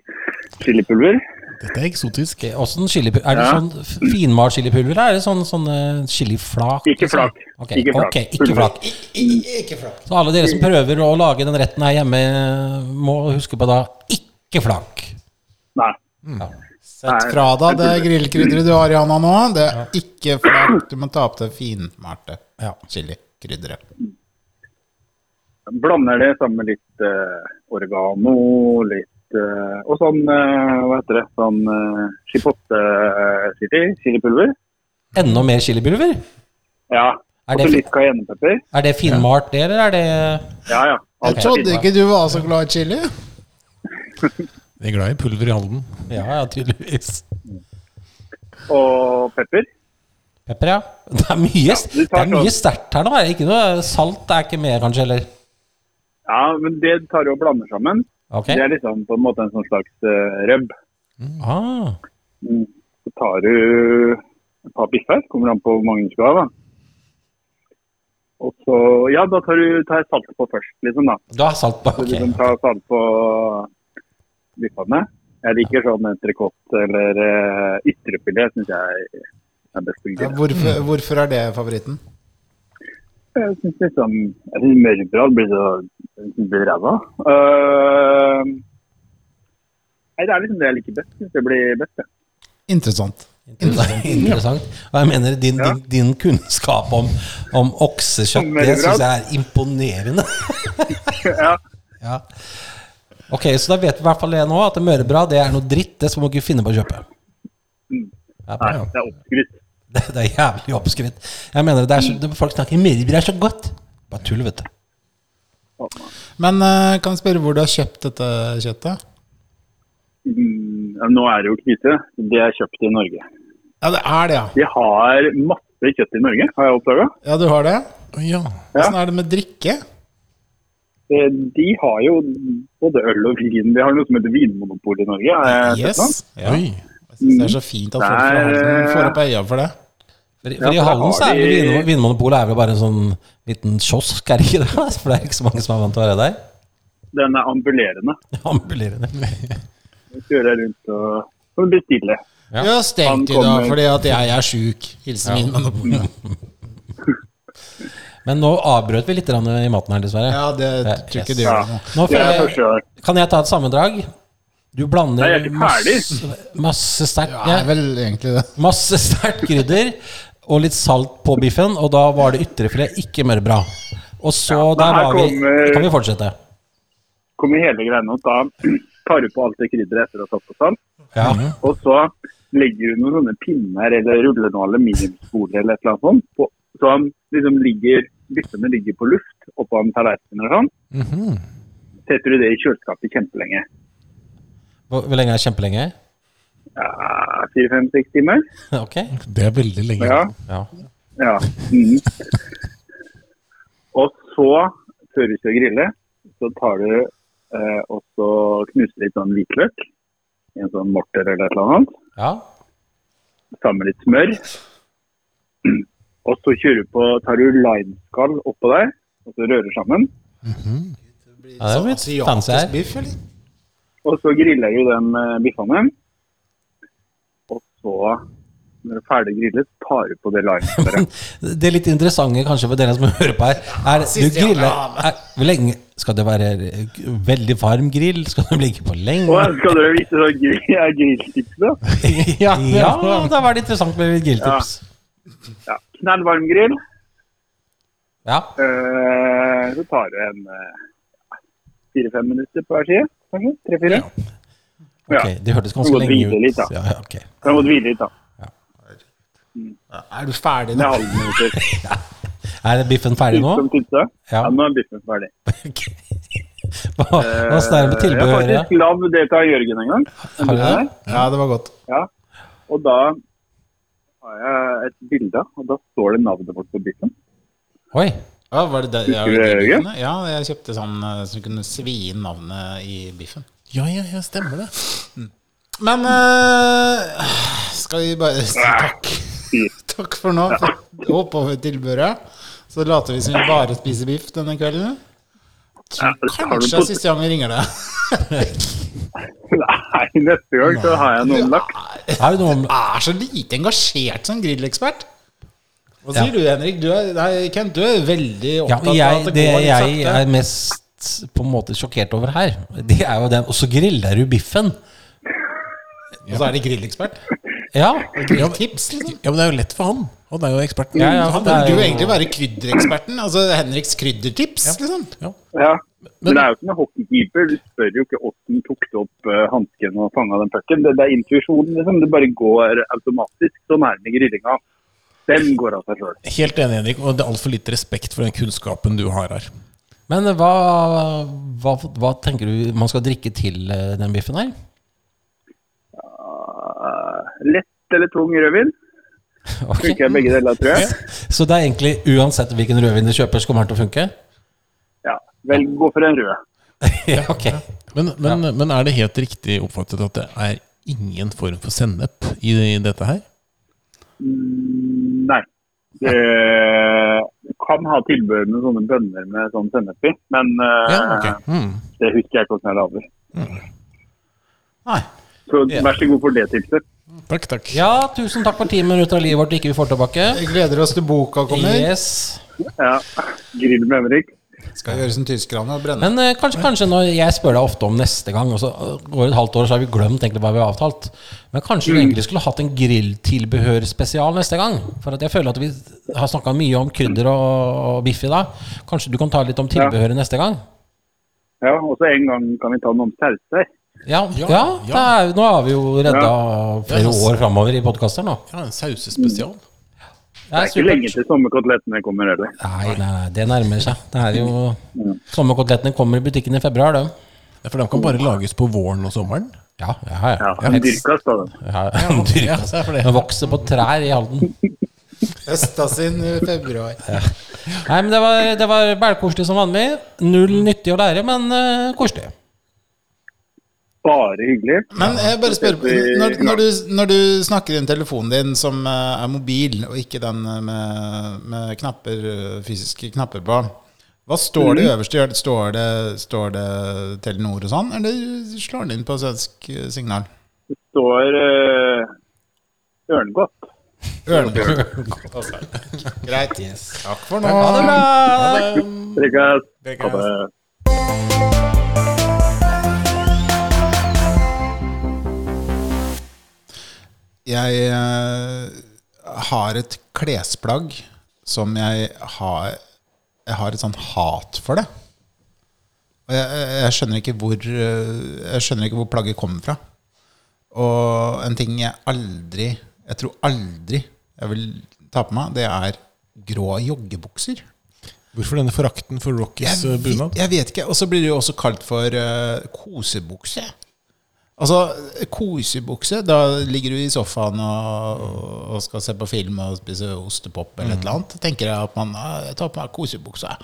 H: Chilipulver.
C: Dette er eksotisk.
E: Ok, Åssen chilipulver? Er det
H: Ja.
E: sånn f- finmalt chilipulver, eller er det sånn, sånn eh, chiliflak?
H: Ikke
E: liksom?
H: flak.
E: Ok,
H: Ikke flak.
E: ok, ikke
H: Pulver.
E: flak. Så alle dere som prøver å lage den retten her hjemme, eh, må huske på da ikke flak.
H: Nei.
B: Sett fra deg det grillkrydderet du har i hånda nå. Det er ikke flak. Du må ta opp det finmalte chilikrydderet.
H: Blander det sammen med litt eh, oregano, litt eh, Og sånn, eh, hva heter det, sånn uh, chipotle-chili. Chilipulver.
E: Enda mer chilipulver?
H: Ja.
E: Er
H: Og
E: det
H: så
E: fi-
H: litt cayennepepper.
E: Er det finmalt, det, eller er det
H: Ja, ja. Alt
B: Jeg trodde
H: er
B: ikke du var så glad i chili.
C: Vi er glad i pulver i Halden.
E: Ja, ja, tydeligvis.
H: fint. Og pepper.
E: Pepper, ja. Det er mye,
H: du
E: det
H: tar sånn.
E: er mye sterkt her nå. Er det ikke noe salt? Det er ikke mer, kanskje, eller?
H: Ja, men det tar du og blander sammen.
E: Ok.
H: Det er liksom på en måte en sånn slags eh, røbb.
E: Ah,
H: Mm. Så tar du et par biffer, kommer an på hvor mange du skal ha. da. Og så, ja, da tar du tar jeg salt på først, liksom. da.
E: du har salt på?
H: Så
E: Ok.
H: liksom tar salt på biffene. Jeg liker sånn entrecôte eller uh, ytrefilet, syns jeg er best. å
B: Ja,
H: gjøre.
B: Hvorfor, hvorfor er det favoritten?
H: Jeg syns liksom jeg synes mørbrad blir så jeg blir ræva. Eh, nei, det er liksom det jeg liker best. Syns det blir best, jeg.
B: Interessant.
E: Interessant. Interessant. Og jeg mener, din, din, din kunnskap om, om oksekjøtt,
H: Om
E: det
H: veldig bra.
E: syns jeg er imponerende.
H: *laughs* Ja.
E: ja. Ok, så da vet vi i hvert fall det nå, at mørebrad det er noe dritt. Det skal man ikke finne på å kjøpe. Ja,
H: Mm. Nei,
E: bra.
H: det er oppskrytt.
E: *laughs* det, det er jævlig oppskrytt. Jeg mener, det er så, det, folk snakker mørebrad er så godt. Bare tull, vet du.
B: Men eh, kan jeg spørre hvor du har kjøpt dette kjøttet?
H: Mm, ja, Nå er det jo knyte. Det er kjøpt i Norge.
B: Ja, det er det, ja.
H: De har masse kjøtt i Norge, har jeg oppdaga.
B: Ja, du har det?
C: Å Ja.
B: Åssen er det med drikke?
H: Eh, De har jo både øl og vin. De har noe som heter vinmonopol i Norge. har jeg sett nå.
B: Yes. Ja.
C: Oi.
B: Jeg synes det er så fint at folk fra
H: Der,
B: Halden får
H: eh,
B: opp øya for det.
E: For,
H: Ja,
E: for i
H: for
E: Hallen
H: har
E: så er vel
H: de-
E: Vin- Vinmonopolet er vel bare en sånn liten kiosk, er det *laughs* ikke det? For det er ikke så mange som er vant til å være der. *laughs*
H: Den er ambulerende.
E: Ambulerende.
H: Så Kjører jeg rundt og og bestiller.
E: Ja.
B: *laughs* Ja, stengt i dag
H: kommer-
B: fordi at jeg er sjuk. Hilsen min monopolet.
E: Men nå avbrøt vi litt grann i maten her, dessverre.
B: Ja, det
E: Ja,
B: tror
E: yes.
B: ikke du gjør noe.
E: Nå
H: Det
E: får
H: er
E: jeg,
H: første gang.
E: kan jeg ta et sammendrag? Du blander
H: Nei, jeg er ikke
E: masse, masse sterkt
B: Det er
E: ja,
B: vel egentlig det.
E: Masse sterkt krydder og litt salt på biffen, og da var det ytrefilet, ikke mørbra. Og så
H: men
E: der
H: her
E: var vi
H: kommer-
E: Kan vi fortsette?
H: Kommer hele greiene og da *clears throat* tar du på alt det krydderet etter å ha satt på salt.
E: Ja.
H: Og så legger du noen sånne pinner eller ruller noen aluminiumsfolie eller et eller annet sånt. På, så han liksom ligger, biffene ligger på luft oppå en tallerken og sånn.
E: Mhm.
H: Setter du det i kjøleskapet kjempelenge.
E: Hvor, hvor lenge er det? Kjempelenge? *laughs*
H: Ja, Fire-fem-seks timer.
E: Ok.
C: Det er veldig lenge.
H: Ja.
E: Ja.
H: ja. Mm. Og så, før du skal grille, så tar du eh, og så knuser litt sånn hvitløk i en sånn morter eller et eller annet.
E: ja.
H: sammen med litt smør. Og så kjører du på, tar du limeskall oppå der, og så rører sammen.
E: ja det er litt fancy
B: Asiatisk
E: her.
B: biff, eller?
H: Og så griller du den eh, biffene. Og så, når du er ferdig grillet, tar du på det
E: *laughs*
H: limeskallet.
E: Det litt interessante kanskje for dere som *laughs* hører på her, er du
B: siste gang jeg
E: griller
B: har
E: er, Hvor lenge skal det være veldig varm grill? Skal den ligge på
H: Og
E: *laughs* lenge?
H: skal dere vise sånn grill, ja, grilltips, da?
E: Ja, da var det interessant med litt grilltips.
H: Ja, knallvarm grill.
E: Ja.
H: Eh, så tar du en eh, fire-fem minutter på hver side, kanskje? Tre-fire? Ja.
E: Ok, det hørtes
H: Du
E: ganske
H: må
E: lenge
H: hvile
E: ut.
H: litt, da.
E: Ja, ja, ok.
H: Så jeg måtte hvile litt, da.
B: Er du ferdig
H: Med
B: nå?
E: *laughs*
H: halvminutter.
E: Er biffen ferdig nå?
H: Som tipset.
E: Ja.
H: Ja, nå er biffen ferdig. Eh,
E: Ok. Hva hva står det med
H: Jeg har
E: tilbehøret?
H: faktisk lagd det til Jørgen en gang.
E: Har du det?
B: Ja, det var godt.
H: Og da har jeg et bilde, og da står det navnet vårt på biffen.
E: Oi.
B: Ja, var det det, ja,
H: Husker du det, Jørgen?
B: ja, jeg kjøpte sånn eh, som kunne svi inn navnet i biffen. Mm.
C: Ja, ja, ja, stemmer det.
B: Men eh, skal vi bare si
H: Ah.
B: takk? *laughs* Takk for nå. Hopp over tilbudet. Så later vi som vi bare spiser biff denne kvelden.
H: Ja, har du
B: Kanskje det er
H: pot-
B: siste gang vi ringer deg.
H: *laughs* Nei, neste gang så har jeg noen laks.
E: Er det noe om
B: Du er så lite engasjert som grillekspert. Hva sier du, Henrik? Du er, nei, Kent, du er veldig
E: ja,
B: opptatt av
E: jeg,
B: at
E: Det
B: det går litt
E: jeg
B: sakte.
E: er mest på en måte sjokkert over her, det er jo den Og så griller du biffen.
B: Og så er det grillekspert.
E: Ja.
B: Grilltips, liksom.
C: Ja, men det er jo lett for han. Han er jo eksperten.
E: Ja, ja,
C: han
E: det
B: Burde
E: er
B: jo
E: jo-
B: egentlig være kryddereksperten. Altså Henriks kryddertips, liksom.
H: Ja. Men det er jo ikke noen hockeykeeper. Du spør jo ikke åssen tok du opp uh, hansken og fanga den pucken. Det, det er intuisjonen, liksom. Det bare går automatisk. Sånn er det med grillinga. Den går av seg sjøl.
C: Helt enig, Henrik. Og det er altfor lite respekt for den kunnskapen du har her.
E: Men hva, hva, hva tenker du man skal drikke til eh, den biffen her? *laughs*
H: Eh, lett eller tung rødvin.
E: Ok.
H: Funker begge deler, tror jeg.
E: Så det er egentlig uansett hvilken rødvin du kjøper, så kommer den til å funke?
H: Ja. Vel, gå for en rød.
E: Ja, ok.
C: Men, men, men er det helt riktig oppfattet at det er ingen form for sennep i, i dette her?
H: Mm, Nei. Det du kan ha tilbehør med sånne bønner med sånn sennep i, men eh,
C: Ja, ok. Mm.
H: det husker jeg ikke hvordan jeg lager.
B: Nei.
H: Så vær så god for det tipset.
C: Takk, takk.
E: Ja, tusen takk for ti minutter av livet vårt ikke vi får tilbake.
B: Vi gleder oss til boka kommer.
E: Yes.
H: Ja. Grill med Henrik.
B: Skal gjøre som tyskerne og brenne.
E: Men eh, kanskje, kanskje når jeg spør deg ofte om neste gang, og så eh, går det et halvt år, så har vi glemt egentlig hva vi har avtalt. Men kanskje du egentlig skulle hatt en grilltilbehørspesial neste gang? For at jeg føler at vi har snakka mye om krydder og, og biff i dag. Kanskje du kan ta litt om tilbehøret neste gang?
H: Ja, og så en gang kan vi ta noen om sauser.
E: Ja, ja, det
C: ja.
E: er, nå har vi jo redda flere
C: Ja, ass.
E: år framover i podkaster nå.
C: Ja, en sausespesial.
E: Det
H: Det er ikke lenge til sommerkotelettene kommer heller.
E: Nei, nei, nei, det nærmer seg. Det er jo Sommerkotelettene kommer i butikken i februar, de.
C: Ja, For de kan bare lages på våren og sommeren?
E: Ja, ja, ja.
H: Ja, Dyrkas, da. den.
E: ja, dyr.
C: Ja, så er det for
E: De
C: det.
E: vokser på trær i Halden.
B: Høsta sin i februar.
E: Nei, men det var, det var bælkoselig som vanlig. Null nyttig å lære, men eh, koselig.
H: Bare hyggelig.
B: Men jeg bare spør når, når, du, når du snakker inn telefonen din som eh, er mobil, og ikke den eh, med, med knapper, eh, fysiske knapper på, hva står det øverst? Gjør det- Står det, står det Telenor og sånn, eller slår den inn på svensk eh, signal?
H: Står uh, Ørngodt.
B: Ørnbjørn. Greit. Takk for nå.
H: Dyrkas. Ha
C: Dyrkas.
H: det.
B: Jeg eh, har et klesplagg som jeg har Jeg har et sånn hat for det. Og jeg, jeg, jeg skjønner ikke hvor eh, Jeg skjønner ikke hvor plagget kommer fra. Og en ting jeg aldri Jeg tror aldri jeg vil ta på meg, det er grå joggebukser.
C: Hvorfor denne forakten for Rockys
B: Jeg,
C: eh,
B: vet-
C: bunad?
B: jeg vet ikke. Og så blir det jo også kalt for eh, kosebukse. Altså, kosebukse, da ligger du i sofaen og, og skal se på film og spise ostepop
C: Mm.
B: eller et eller annet. tenker jeg at man «Ah, jeg tar på meg kosebuksa.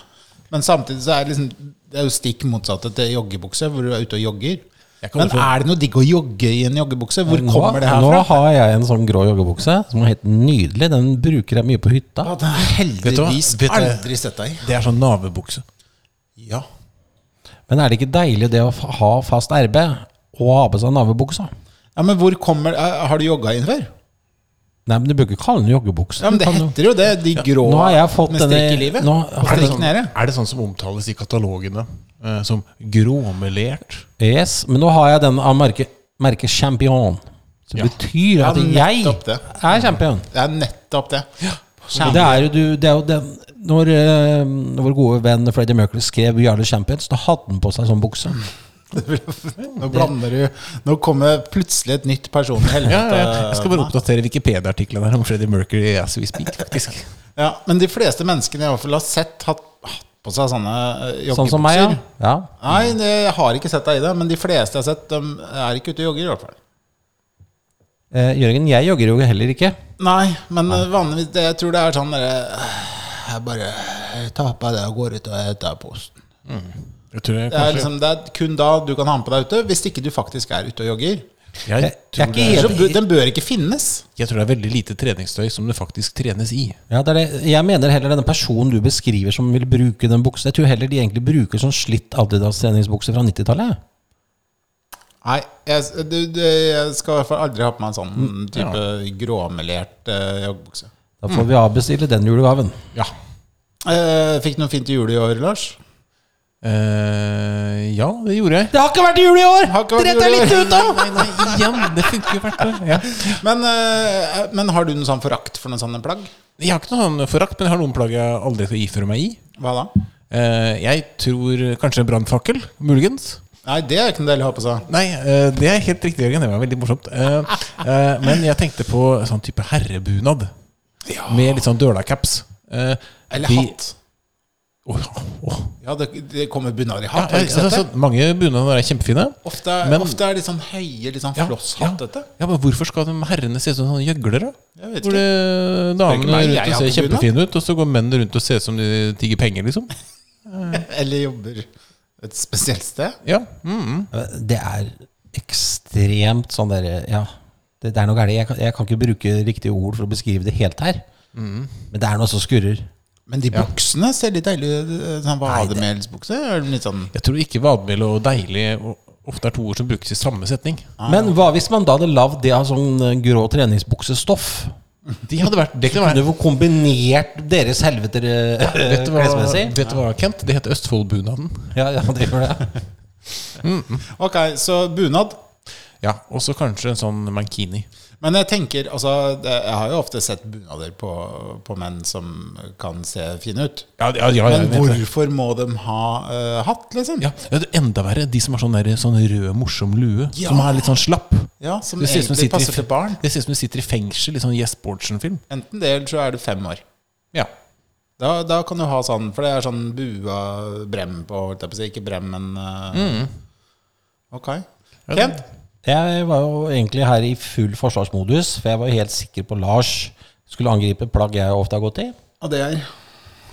B: Men samtidig så er det, liksom, det er jo stikk motsatte til joggebukse, hvor du er ute og jogger.
C: Jeg kan
B: Men
C: også-
B: er det noe digg å jogge i en joggebukse? Hvor
E: Nå,
B: kommer det her
E: nå
B: fra?
E: har jeg en sånn grå joggebukse som er helt nydelig. Den bruker jeg mye på hytta.
B: Ja, Den har jeg
C: Vet du hva?
B: heldigvis
C: Vet du-
B: aldri sett deg i.
C: Det er sånn navebukse.
B: Ja.
E: Men er det ikke deilig det å fa- ha fast RB og ha på seg navebuksa?
B: ja, men hvor kommer eh, Har du jogga inn før?
E: Nei, men du bør ikke kalle den joggebukse.
B: Ja, men det
E: Kan du-
B: heter jo det. De grå
E: Nå har jeg fått
B: med strikk i
E: denne-
B: livet.
E: nå-
B: og strikk nede.
C: Er det sånn som omtales i katalogene? eh, Som gråmelert?
E: Yes, men nå har jeg den av merket merke Champion. Som
C: Ja.
E: betyr at
B: Ja,
E: jeg
B: nettopp det.
E: er champion.
B: Det er nettopp det.
E: Og Det er jo, du, det er jo den, når eh, vår gode venn Freddie Mercury skrev 'We are the champions', da hadde han på seg sånn bukse.
B: Nå blander du Nå kommer plutselig et nytt
E: *laughs*
B: person i helvete.
C: Jeg skal bare oppdatere Wikipedia-artiklene her om Freddie Mercury as we speak, faktisk.
B: Ja, men de fleste menneskene jeg i hvert fall har sett, hatt, hatt på seg sånne eh, joggebukser.
E: Sånn som meg, ja. ja.
B: Nei, det, jeg har ikke sett deg i det, men de fleste jeg har sett, de er ikke ute og jogger i hvert fall.
E: Eh, Jørgen, jeg jogger jo heller ikke.
B: Nei, men eh, vanligvis det, Jeg tror det er sånn derre eh, Jeg bare jeg tar på det og går ut og jeg tar posen.
C: Jeg tror jeg
B: Det er,
C: kanskje
B: liksom, det er kun da du kan ha den på deg ute, hvis ikke du faktisk er ute og jogger.
C: jeg,
E: Jeg er
C: tror det,
E: ikke
B: Så
E: helt
B: bu- den bør ikke finnes.
C: jeg tror det er veldig lite treningstøy som det faktisk trenes i.
E: Ja, det er det. Jeg mener heller denne personen du beskriver som vil bruke den buksa Jeg tror heller de egentlig bruker sånn slitt Adidas-treningsbukse fra 90-tallet.
B: Nei, jeg, s- du, du, jeg skal i hvert fall aldri ha på meg en sånn type gråmelert eh, joggebukse.
E: Da får vi avbestille den julegaven.
C: Ja.
B: Eh, fikk du noe fint til jul i år, Lars?
C: Eh, ja, det gjorde jeg.
E: Det har ikke vært jul i år!
B: Har ikke vært Dere er jul i år. litt
E: ute!
C: Nei, nei, igjen! Det funker jo hvert år. Ja.
B: Men, eh, men har du noen sånn forakt for noen sånne plagg?
C: Jeg har ikke noe sånn forakt, men jeg har noen plagg jeg aldri skal iføre meg i.
B: Hva da?
C: Eh, jeg tror kanskje en brannfakkel, muligens.
B: Nei, det er ikke noe deilig å ha på seg.
C: Nei, eh, det er helt riktig, Jørgen. Det var veldig morsomt. Eh, eh, men jeg tenkte på sånn type herrebunad. Med litt sånn dølacaps. Eh,
B: Eller
C: de-
B: hatt.
C: Åh, åh.
B: Ja, det, det kommer bunad i
C: Ja,
B: hatt. har du ikke
C: altså,
B: sett det?
C: sånn- mange bunader er kjempefine.
B: Ofte,
C: Men-
B: ofte er de sånn høye, litt sånn
C: Ja,
B: flosshattete.
C: Ja, men hvorfor skal de herrene se ut som sånne gjøglere?
B: Jeg vet
C: Hvor det, damene
B: Tenker meg,
C: rundt
B: jeg
C: og
B: har
C: ser
B: ikke bunad.
C: kjempefine ut, og så går mennene rundt og ser ut som de tigger penger, liksom.
B: Eller jobber et spesielt sted.
C: Ja, mm,
E: Det er ekstremt sånn derre Ja, det, det er noe gærent. Jeg, kan- jeg kan ikke bruke riktige ord for å beskrive det helt her.
C: Mm.
E: Men det er noe som skurrer.
B: Men de buksene ser litt deilige ut. Sånn vademelsbukse. er de Litt sånn
C: Jeg tror ikke vadmel og deilig og- ofte er to ord som brukes i samme setning.
E: Men hva hvis man da hadde lagd det av sånn eh, grå treningsbuksestoff?
C: De hadde vært, det kunne vært
E: Kunne jo kombinert deres helveter eh,
C: Vet du hva,
E: klesmessig?
C: vet du hva Kent? Det heter Østfoldbunaden.
E: Ja, ja, det gjør det.
B: Ok, så bunad.
C: Ja, og så kanskje en sånn mankini.
B: Men jeg tenker, altså det, Jeg har jo ofte sett bunader på, på menn som kan se fine ut.
C: Ja, ja, ja,
B: Men
C: jeg vet det.
B: hvorfor må de ha eh, hatt, liksom?
C: ja, det er enda verre, de som har sånn, der, sånn rød, morsom lue.
B: Ja.
C: Som er litt sånn slapp.
B: Ja, som
C: Det ser ut som de sitter i
B: egentlig passer
C: fe-
B: til barn.
C: Det ser ut som de sitter i fengsel, litt sånn Yes Bordsen-film.
B: Enten det, eller så er du fem år.
C: Ja.
B: Da, da kan du ha sånn, for det er sånn bua brem på, holdt jeg på å si. Ikke brem, men eh,
C: Mm.
B: Ok. Kent?
E: Jeg var jo egentlig her i full forsvarsmodus, for jeg var jo helt sikker på Lars skulle angripe plagg jeg ofte har gått i.
B: Og det er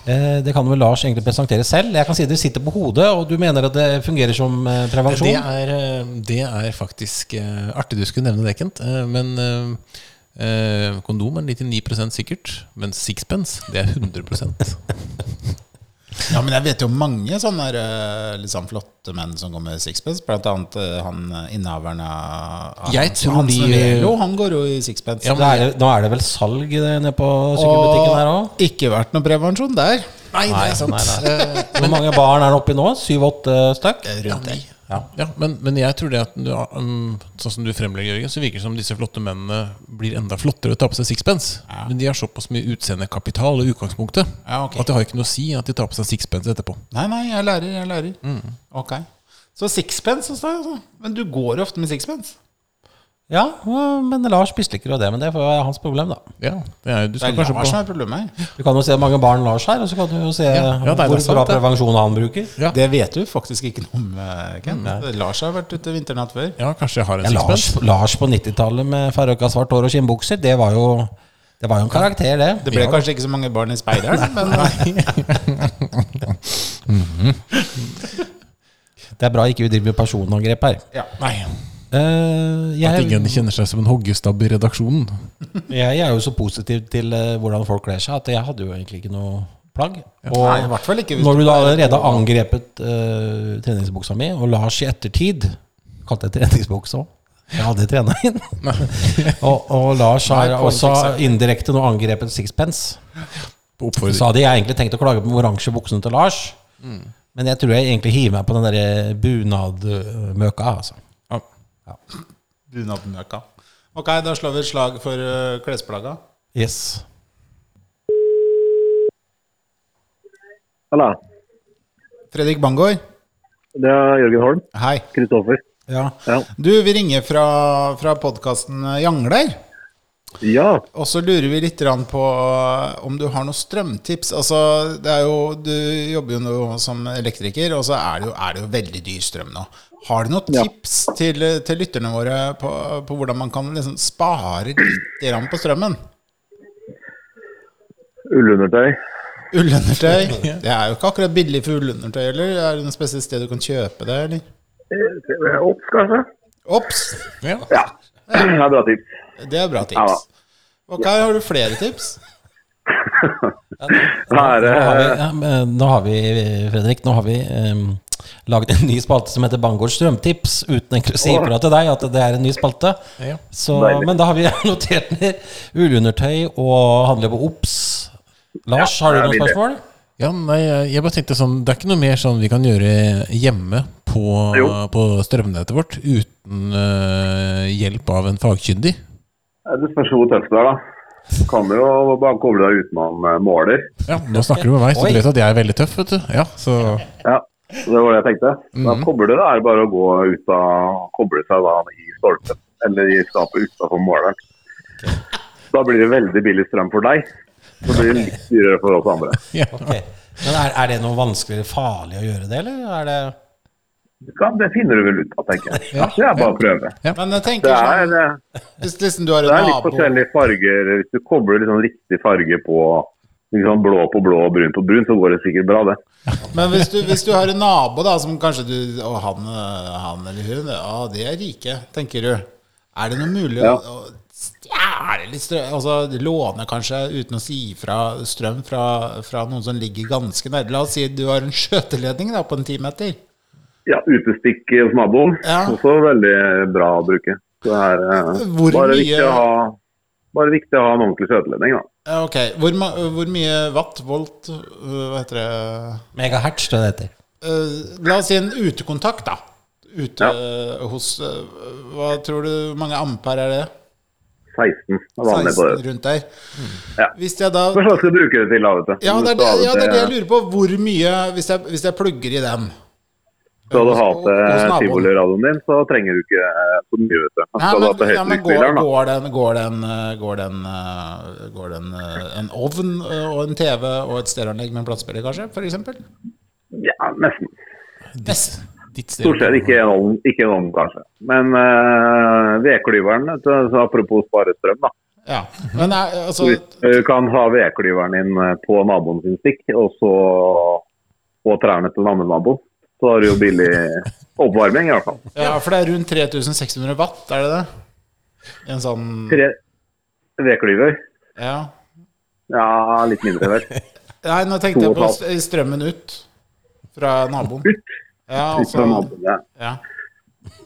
E: Eh, Det kan vel Lars egentlig presentere selv. Jeg kan si det sitter på hodet, og du mener at det fungerer som eh, prevensjon.
C: Det er, eh, det er faktisk eh, artig du skulle nevne det, Kent. eh, Men eh, eh, kondom er 99 sikkert. Men sixpence, det er 100
B: Ja, men jeg vet jo mange sånne der, eh, litt sånn flotte menn som går med sixpence. Blant annet eh, han eh, innehaveren av
C: Jeg tror
B: han,
C: de-
B: Svevelo, han går jo i sixpence.
E: Så det er, nå er det vel salg eh, nede på sykkelbutikken her òg?
B: og ikke vært noe prevensjon der.
C: Nei, det er sant. Eh,
E: Hvor mange barn er det oppi nå? Syv-åtte stykk?
B: Rundt der.
C: Ja, men, men jeg tror det at du, um, Sånn som du fremlegger, Jørgen, så virker det som disse flotte mennene blir enda flottere og tar på seg sixpence. Men de har såpass mye utseendekapital i utgangspunktet
B: Ja, ok.
C: at det har ikke noe å si at de tar på seg sixpence etterpå.
B: Nei, nei, jeg lærer, jeg lærer.
C: Mm.
B: Ok. Så sixpence, altså. altså. Men du går jo ofte med sixpence.
E: Ja, eh, men Lars misliker jo det. Men det får være hans problem, da.
C: Ja, det er, jo- du
B: Det
C: skal
B: er
C: kanskje
B: Lars som
C: på
B: er problemet her.
E: Du kan jo se hvor mange barn Lars har, og så kan du jo se
C: Ja, ja, det er
E: hvor
C: sant,
E: bra
C: det.
E: prevensjon han bruker.
C: Ja.
B: Det vet du faktisk ikke noe om, eh, Ken. Lars har vært ute vinternatt før.
C: Ja, kanskje jeg har en
E: Ja, Lars,
C: sixpence.
E: Lars på 90-tallet med farøkka svart hår og skinnbukser, det var jo det var jo en karakter, det.
B: Det ble kanskje ikke så mange barn i
C: *laughs*
B: speideren, men eh,
E: Det er bra ikke vi driver med personangrep her.
B: ja.
C: Nei,
E: Eh,
C: at
E: jeg,
C: ingen kjenner seg som en hoggestabb i redaksjonen.
E: jeg er jo så positiv til eh, hvordan folk kler seg, at jeg hadde jo egentlig ikke noe plagg.
B: Nei, i hvert fall ikke hvis
E: Når
B: du
E: du da allerede har angrepet eh, treningsbuksa mi, og Lars i ettertid kalte jeg treningsbuksa òg. Jeg hadde trena inn. *laughs* og, og Lars har
B: Nei, Kåre
E: også
B: fikser.
E: indirekte nå angrepet sixpence.
C: På
E: Så
C: oppfordring.
E: hadde jeg egentlig tenkt å klage på den oransje buksene til Lars. Men jeg tror jeg egentlig hiver meg på den der bunadmøka. Altså.
C: Ja.
B: bunadmøka. Ok, da slår vi et slag for eh, klesplagga.
E: Yes.
I: Halla.
B: Fredrik Bangor,
I: Det er Jørgen Holm.
B: hei.
I: Kristoffer.
B: Ja.
I: Ja.
B: Du, vi ringer fra, fra podkasten eh, Jangler.
H: Ja,
B: Og så lurer vi litt grann på eh, om du har noen strømtips. Altså, det er jo, du jobber jo nå som elektriker, og så er det jo, er det jo veldig dyr strøm nå. Har du noen
J: Ja.
B: tips til, til lytterne våre på, på hvordan man kan liksom spare litt grann på strømmen?
H: ullundertøy. *laughs*
B: Ullundertøy. Det er jo ikke akkurat billig for ullundertøy heller. Er det noe spesielt sted du kan kjøpe det, eller?
H: Eh, Ops, kanskje?
B: Ops!
C: Ja.
H: Ja. Det er bra tips.
B: Det er bra
H: Ja.
B: tips. Ok, har du flere tips?
H: Hva er
E: Nå
H: det?
E: har vi, ja, men nå har vi Fredrik, nå har vi em, laget en ny spalte som heter Bangårds strømtips, uten egentlig å si ifra til deg at det er en ny spalte.
C: Ja.
E: Så,
H: Deilig.
E: men da har vi *laughs* notert ned ullundertøy og handle på OBS. Lars, har du
H: det er
E: noen
H: billig.
E: spørsmål?
C: Ja, nei, jeg- jeg bare tenkte sånn Det er ikke noe mer sånn vi kan gjøre hjemme på,
H: Jo.
C: på strømnettet vårt uten eh, hjelp av en fagkyndig?
H: eh, Det spørs hvor tøft det er, da. Du kan jo bare koble deg utenom eh, måler.
C: Ja, nå snakker du med meg, så
E: Oi.
C: du vet at jeg er veldig tøff, vet du. Ja, så
H: Ja, så det var det jeg tenkte. Da kobler det er bare å gå ut av Koble seg da i stolpen, eller i skapet utafor måleren. Da blir det veldig billig strøm for deg. Så blir det litt dyrere for oss andre.
C: ja.
E: Ok. Men er, er det noe vanskelig eller farlig å gjøre det, eller? Er det
H: Ja, det finner du vel ut av, tenker jeg.
C: Ja.
H: Det er bare å prøve.
B: Men jeg
H: Det
B: tenker
H: er,
B: sånn,
H: eh,
B: hvis liksom du har
H: det
B: en
H: er litt
B: nabo
H: forskjellige farger. Hvis du kobler liksom riktig farge på liksom blå på blå og brun på brun, så går det sikkert bra, det.
B: Men hvis du, hvis du har en nabo da som kanskje du Og han, øh, han eller hun, ja, de er rike, tenker du. Er det noe mulig å,
H: Ja.
B: å stjele litt strøm? Altså låne kanskje uten å si fra strøm fra, fra noen som ligger ganske nær? La oss si du har en skjøteledning da på en ti meter.
H: Ja, utestikk hos naboen.
B: Ja.
H: Også veldig bra å bruke. Så det er eh,
B: Hvor
H: bare,
B: mye-
H: viktig å ha, bare viktig å ha en ordentlig skjøteledning, da.
B: Ja, ok. Hvor, ma hvor mye watt, volt, øh, hva heter det
E: megahertz, det det heter?
B: Eh, La oss si en utekontakt, da. Ute
H: Ja.
B: eh, hos eh, Hva tror du hvor mange ampere er det?
H: 16 er vanlig på
B: 16
H: det.
B: rundt der.
H: Ja.
B: Hvis jeg da
H: Hva slags skal du bruke det sånn til, da? vet du?
B: Ja,
H: Du
B: det er det,
H: skal ha
B: ja, det, er det jeg
H: til-
B: lurer på. Hvor mye Hvis jeg, hvis jeg plugger i den
H: Skal du eh, ha
B: Hos- hos
H: til
B: naboen.
H: tivoliradioen din, så trenger du ikke eh, så mye, vet du. Men
B: Nei,
H: Skal du ha til
B: men, ja, men går,
H: høytrykksspilleren, da?
B: går den, går den, eh, går den, eh, går den eh, en ovn eh, og en TV og et stereoanlegg med en platespiller, kanskje? For eksempel?
H: Ja, nesten.
B: Nesten.
C: Ditt sted.
H: Stort sett ikke en ovn, ikke en ovn kanskje. Men uh, vedklyveren, vet du, så apropos spare strøm, da.
B: Ja. Men er, altså
H: Du kan ha vedklyveren din eh, på naboen sin stikk, og så på trærne til den andre naboen. Så har du jo billig
E: *laughs*
H: oppvarming, i hvert fall.
B: Ja, for det er rundt 3600 watt, er det det? I en sånn
H: Tre vedklyver.
B: Ja.
H: Ja, litt mindre, vel.
B: Nei, nå tenkte
H: To
B: jeg
H: og
B: på
H: et
B: st- strømmen ut fra naboen.
H: Ut?
B: Ja,
H: Ut fra
B: altså,
H: naboen, ja.
B: ja.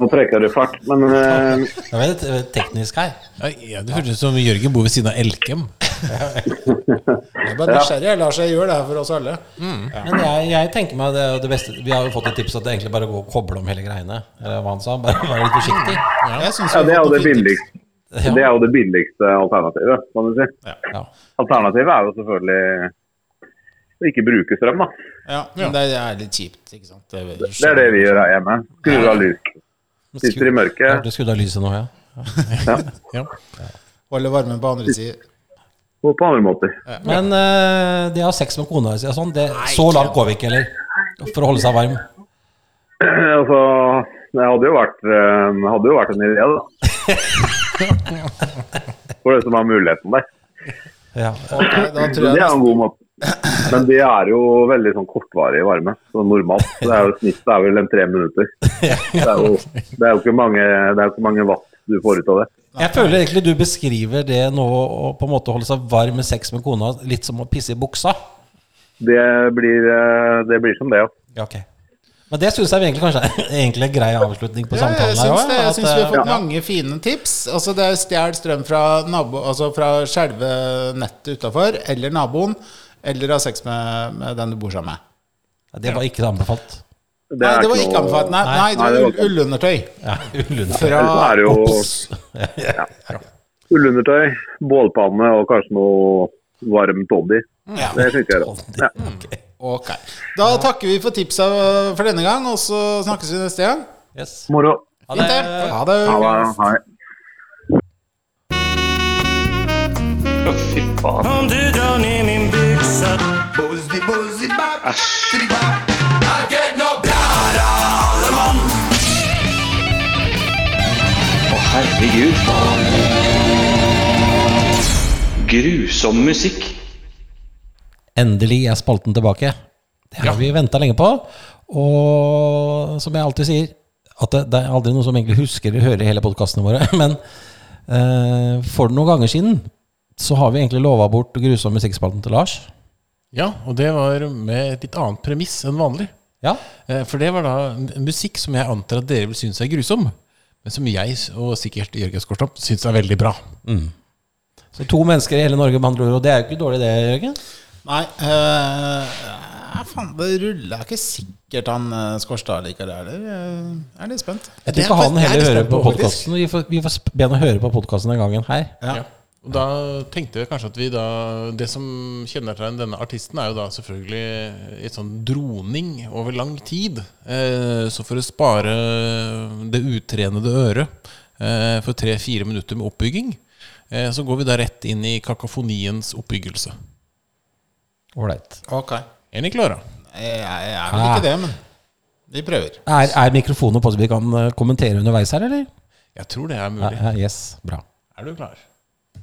H: Nå preker du fart, men eh,
E: Det er veldig eh, teknisk her.
C: Nei, Ja, det hørtes ut som Jørgen bor ved siden av Elkem.
B: Jeg er bare nysgjerrig. Jeg lar seg gjøre det her for oss alle.
E: Men jeg, jeg tenker meg det, det beste Vi har jo fått et tips at det egentlig bare går og koble om hele greiene. Eller hva han sa. Bare *laughs* være litt forsiktig.
B: Jeg synes
H: ja,
B: vi
H: det er
B: har
H: jo
B: fått
H: det
B: et fint tips.
H: billigste.
E: Ja.
H: Det er jo det billigste alternativet, kan du si.
E: Ja.
H: Alternativet er jo selvfølgelig å ikke bruke strøm, da.
B: Ja, men det er litt kjipt, ikke sant? Det er,
H: Det er det vi gjør her hjemme. Skrur av lys. Sitter i
E: Ja,
H: mørket,
E: Du skrudde av lyset nå, ja?
C: Ja.
B: Holde varmen på andre siden.
H: og på andre måter.
E: Men eh, det å ha sex med kona si og sånn, det, så langt går vi ikke, eller? For å holde seg varm.
H: Altså, det hadde jo vært, eh, hadde jo vært en idé, da.
B: *laughs*
H: For det som er muligheten der.
E: Ja. *laughs*
B: Ok, da
H: Så
B: tror
H: det er
B: jeg
H: jo en god måte. Men det er jo veldig sånn kortvarig varme, sånn normalt. Det er jo snittet er vel en tre minutter. Det er jo, det er jo ikke, mange, det er jo ikke mange watt du får ut av det.
E: Jeg føler egentlig du beskriver det nå å på en måte holde seg varm med sex med kona litt som å pisse i buksa.
H: Det blir, eh, det blir som det, ja.
E: Ja, ok. Men det syns jeg egentlig kanskje er *laughs* egentlig en grei avslutning på
B: Ja, jeg
E: samtalen her
B: syns
E: også,
B: det. Jeg
E: at,
B: syns vi har
E: eh,
B: fått mange fine tips. Altså det er stjel strøm fra nabo, altså fra skjelve nettet utafor, eller naboen, eller ha sex med, med den du bor sammen med.
E: Det var ikke anbefalt.
H: Det
B: Nei,
H: er
B: det var
H: ikke
B: ikke
H: noe-
B: anbefalt. Nei, nei,
E: Nei,
B: det
H: det var
B: var
H: ikke-
B: ullundertøy.
E: Ja, ulund.
B: Fra
H: Ellers er det jo
B: Ops.
H: ullundertøy, bålpanne og kanskje noe varmt oddi.
B: Ja.
H: Det funker. da.
E: Ok.
B: Ok. Da takker vi for tipsa for denne gang, og så snakkes vi neste gang.
E: Yes.
H: Moro.
E: Ha
B: Fint, det.
E: det.
B: Ha det.
H: Ha det. Hei. Fy faen.
G: Om du drar ned min byxa
H: Å, herregud. Grusom musikk.
E: Endelig er spalten tilbake. Det har vi venta lenge på. Og som jeg alltid sier, at det, det er aldri noen som egentlig husker eller hører hele podkastene våre. *laughs* Men eh, for noen ganger siden så har vi egentlig lova bort grusom musikkspalten til Lars.
C: Ja, og det var med et litt annet premiss enn vanlig.
E: Ja,
C: Eh, For det var da en musikk som jeg antar at dere vil synes er grusom, men som jeg s- og sikkert Jørgen Skorstad synes er veldig bra.
E: Så to mennesker i hele Norge, med andre ord. Og det er jo ikke dårlig, det, Jørgen?
B: Nei eh, Faen, det ruller er ikke sikkert han eh, Skårstad liker det heller. Eh, Jeg er litt spent.
E: Jeg tror
C: Det er
E: ikke han
C: fakt- jeg er
E: heller
C: litt
E: hører
C: spent
E: på
C: på, faktisk.
E: podkasten. Vi får, vi får sp- be han å høre på podkasten den gangen her.
C: Ja. Og da tenkte jeg kanskje at vi da Det som kjennetegner denne artisten, er jo da selvfølgelig et sånn droning over lang tid. Eh, Så for å spare det utrenede øret eh, for tre-fire minutter med oppbygging, eh, så går vi da rett inn i kakofoniens oppbyggelse.
E: Ålreit.
B: Ok.
C: Er dere klare?
B: Jeg, jeg, jeg er vel
C: Ah.
B: ikke det, men vi prøver.
E: Er, er mikrofonen på så vi kan eh, kommentere underveis her, eller?
C: Jeg tror det er
E: Ja,
C: mulig.
E: ja, yes, bra.
C: Er du klar?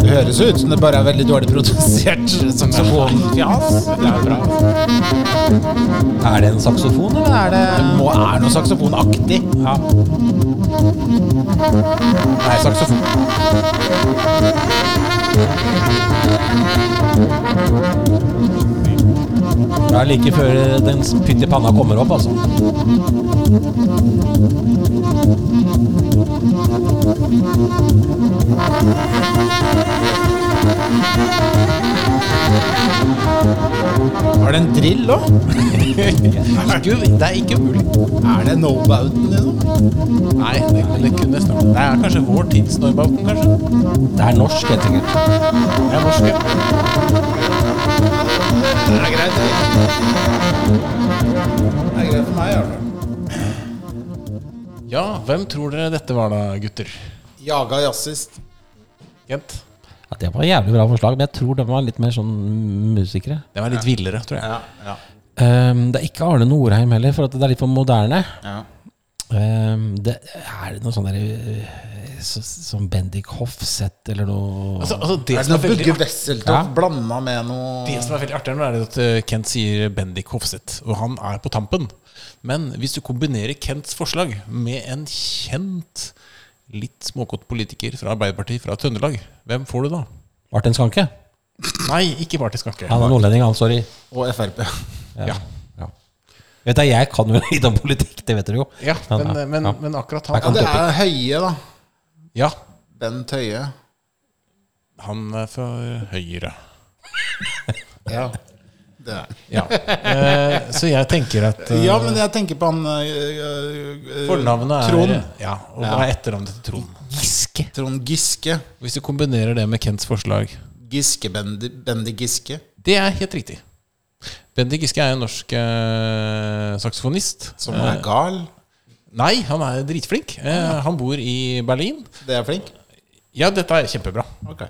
B: Det høres ut som det bare er veldig dårlig produsert saksofonfjas. Det er bra.
E: Er det en saksofon, eller er det
B: Det må er noe saksofonaktig. Ja. Det er saksofon.
E: Det er like før den pytt i panna kommer opp, altså.
B: Har det en drill
C: *laughs*
B: òg?
C: Det er ikke mulig.
B: Er det no bouten, liksom?
C: Nei, det, det kunne snart Det er kanskje vår tids Norrbauten, kanskje?
E: Det er norsk, helt sikkert.
C: Det er norsk, ja.
B: Det er greit. Det Det er greit for meg, i hvert fall.
C: Ja, hvem tror dere Eh, dette var da, gutter?
B: Jaga jazzist.
C: Kent?
E: Ja, det var et jævlig bra forslag, men jeg tror de var litt mer sånn musikere.
C: Den var litt villere, tror jeg.
B: Ja, ja,
E: Ehm, det er ikke Arne Norheim heller, for at det er litt for moderne.
B: ja.
E: Ehm, det er det noe sånn der, øh, så, Som Bendik Hofseth eller noe
C: Altså, altså det,
B: Er det
C: som
B: noe
C: er veldig
B: Bugge
C: art-
B: Wesseltoft blanda med
C: det
B: noe
C: som er veldig artig, nå er det at eh, Kent sier Bendik Hofseth, og han er på tampen. Men hvis du kombinerer Kents forslag med en kjent, litt småkåt politiker fra Arbeiderpartiet fra Trøndelag, hvem får du da?
E: Martin Skanke?
C: Nei, ikke Martin Skanke.
E: Han er nordlending, han. Sorry.
B: og Frp?
C: Ja.
E: Ja. Vet du, jeg kan jo *laughs* litt om politikk, det vet dere jo.
C: Ja, men, eh,
E: ja,
C: men,
E: ja.
C: men akkurat
E: Jeg
B: Ja,
C: han
E: kan
B: det er Høie, da.
C: Ja,
B: Bent Høie.
C: han er fra Høyre.
B: Ja. Det er.
C: Ja. *laughs* Eh, så jeg tenker at eh,
B: ja, men jeg tenker på han eh, øh, øh,
C: fornavnet er
B: Trond.
C: Ja, og hva er etternavnet til Trond?
E: Giske.
B: Trond Giske.
C: Hvis du kombinerer det med Kents forslag
B: Giske-Bendik Giske.
C: Det er helt riktig. Bendik Giske er en norsk eh, saksofonist.
B: Som er gal.
C: Nei, han er dritflink. Eh, han bor i Berlin.
B: Det er flink.
C: Ja, dette er kjempebra.
B: Ok.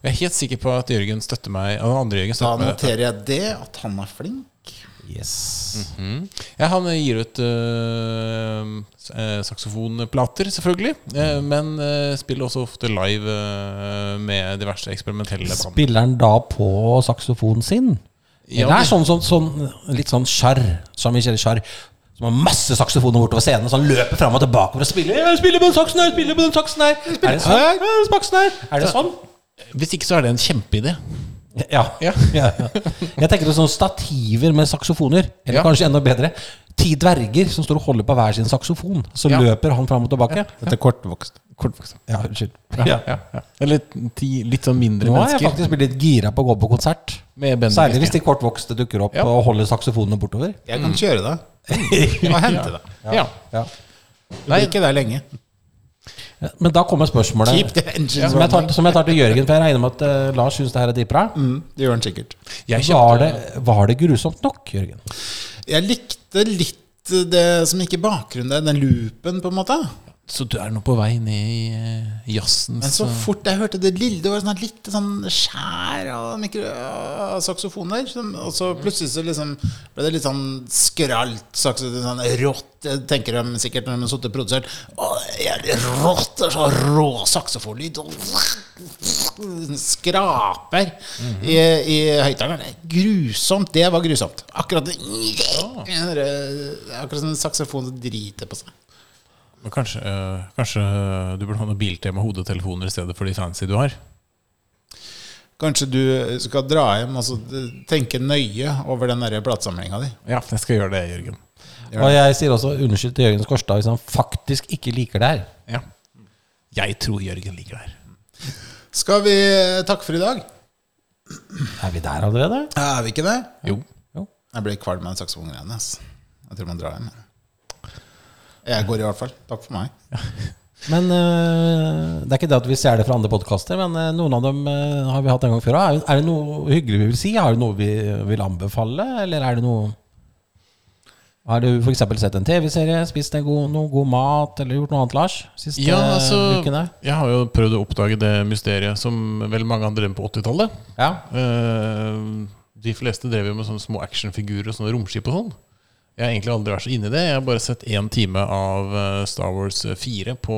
C: Jeg er helt sikker på at Jørgen støtter meg. Og den andre Jørgen
B: Da
C: støtter meg i dette.
B: noterer jeg det, at han er flink.
E: Yes.
C: Ja, han gir ut eh, s- eh, saksofonplater, selvfølgelig. Eh,
E: Mm.
C: men eh, spiller også ofte live eh, med diverse eksperimentelle band.
E: Spiller han da på saksofonen sin?
C: Ja, men-
E: det er sånn, sånn, sånn litt sånn sjarr, Jean-Michel Sjarr, som har masse saksofoner bortover scenen, så han løper fram og tilbake for å spille. Jeg spiller på den saksen her, jeg spiller på den saksen her. Er det sånn? Ja, den saksen her. Er det sånn?
C: Hvis ikke så er det en kjempeidé.
E: Ja.
C: Ja.
E: *laughs* ja. Jeg tenker på sånne stativer med saksofoner, eller
C: Ja.
E: kanskje enda bedre. Ti dverger som står og holder på hver sin saksofon. Så
C: Ja.
E: løper han fram og tilbake.
B: Dette er kortvokst.
C: Kortvokst.
E: Ja, unnskyld.
C: Ja, ja, ja. Eller ti litt sånn mindre
E: Nå har jeg
C: mennesker.
E: faktisk blitt litt gira på å gå på konsert.
C: Med Bendik
E: Særlig
C: Giske.
E: hvis de kortvokste dukker opp
C: Ja.
E: og holder saksofonene bortover.
B: Jeg kan kjøre deg. Og hente deg.
C: Ja.
E: Ja.
B: Det blir ikke deg lenge.
E: Men da kommer spørsmålet
B: Keep the engines
E: som, jeg tar,
B: running.
E: som jeg tar til Jørgen, for jeg regner med at eh, Lars syns det her er dritbra.
B: Mm, det gjør den sikkert.
C: Jeg
E: Var
C: kjøpte,
E: det, var det grusomt nok, Jørgen?
B: Jeg likte litt det som gikk i bakgrunnen der, den loopen, på en måte.
C: så du er nå på vei ned i eh, jazzens
B: Men så
C: eh,
B: fort jeg hørte det lille, det var sånn litt sånn skjær av mikro av saksofoner. Som, og så plutselig så liksom ble det litt sånn skralt saks- sånn rått. Jeg tenker de sikkert når de har sittet og produsert. Å, jævlig rått! Det er så rå saksofonlyd! og Skraper i, i høyttaleren. Det er Grusomt. Det var grusomt. Akkurat det Akkurat som en saksofon som driter på seg.
C: Men kanskje, eh, kanskje du burde ha noe biltema hodetelefoner i stedet for de fancy du har?
B: Kanskje du skal dra hjem og så tenke nøye over den der platesamlinga di.
C: Ja, jeg skal gjøre det, Jørgen.
E: Og jeg sier også unnskyld til Jørgen Skorstad hvis han faktisk ikke liker det her.
C: Ja. Jeg tror Jørgen ligger der.
B: Skal vi takke for i dag?
E: Er vi der allerede?
B: Er vi ikke det?
C: Jo.
B: Jeg ble kvalm av den saksofongreiene. ass. Jeg tror man drar hjem. jeg. Jeg går i hvert fall. Takk for meg.
E: Men eh, det er ikke det at vi ser det fra andre podkaster, men eh, noen av dem eh, har vi hatt en gang før. Er, er det noe hyggelig vi vil si? Har du noe vi vil anbefale, eller er det noe Har du f.eks. sett en TV-serie, spist en god, noe god mat, eller gjort noe annet, Lars? Siste
C: Ja, altså,
E: ukene?
C: jeg har jo prøvd å oppdage det mysteriet som vel mange andre drev med på 80-tallet.
E: Ja.
C: Eh, de fleste drev jo med sånne små actionfigurer og sånne romskip og sånn. Jeg har egentlig aldri vært så inne i det. Jeg har bare sett én time av eh, Star Wars 4 på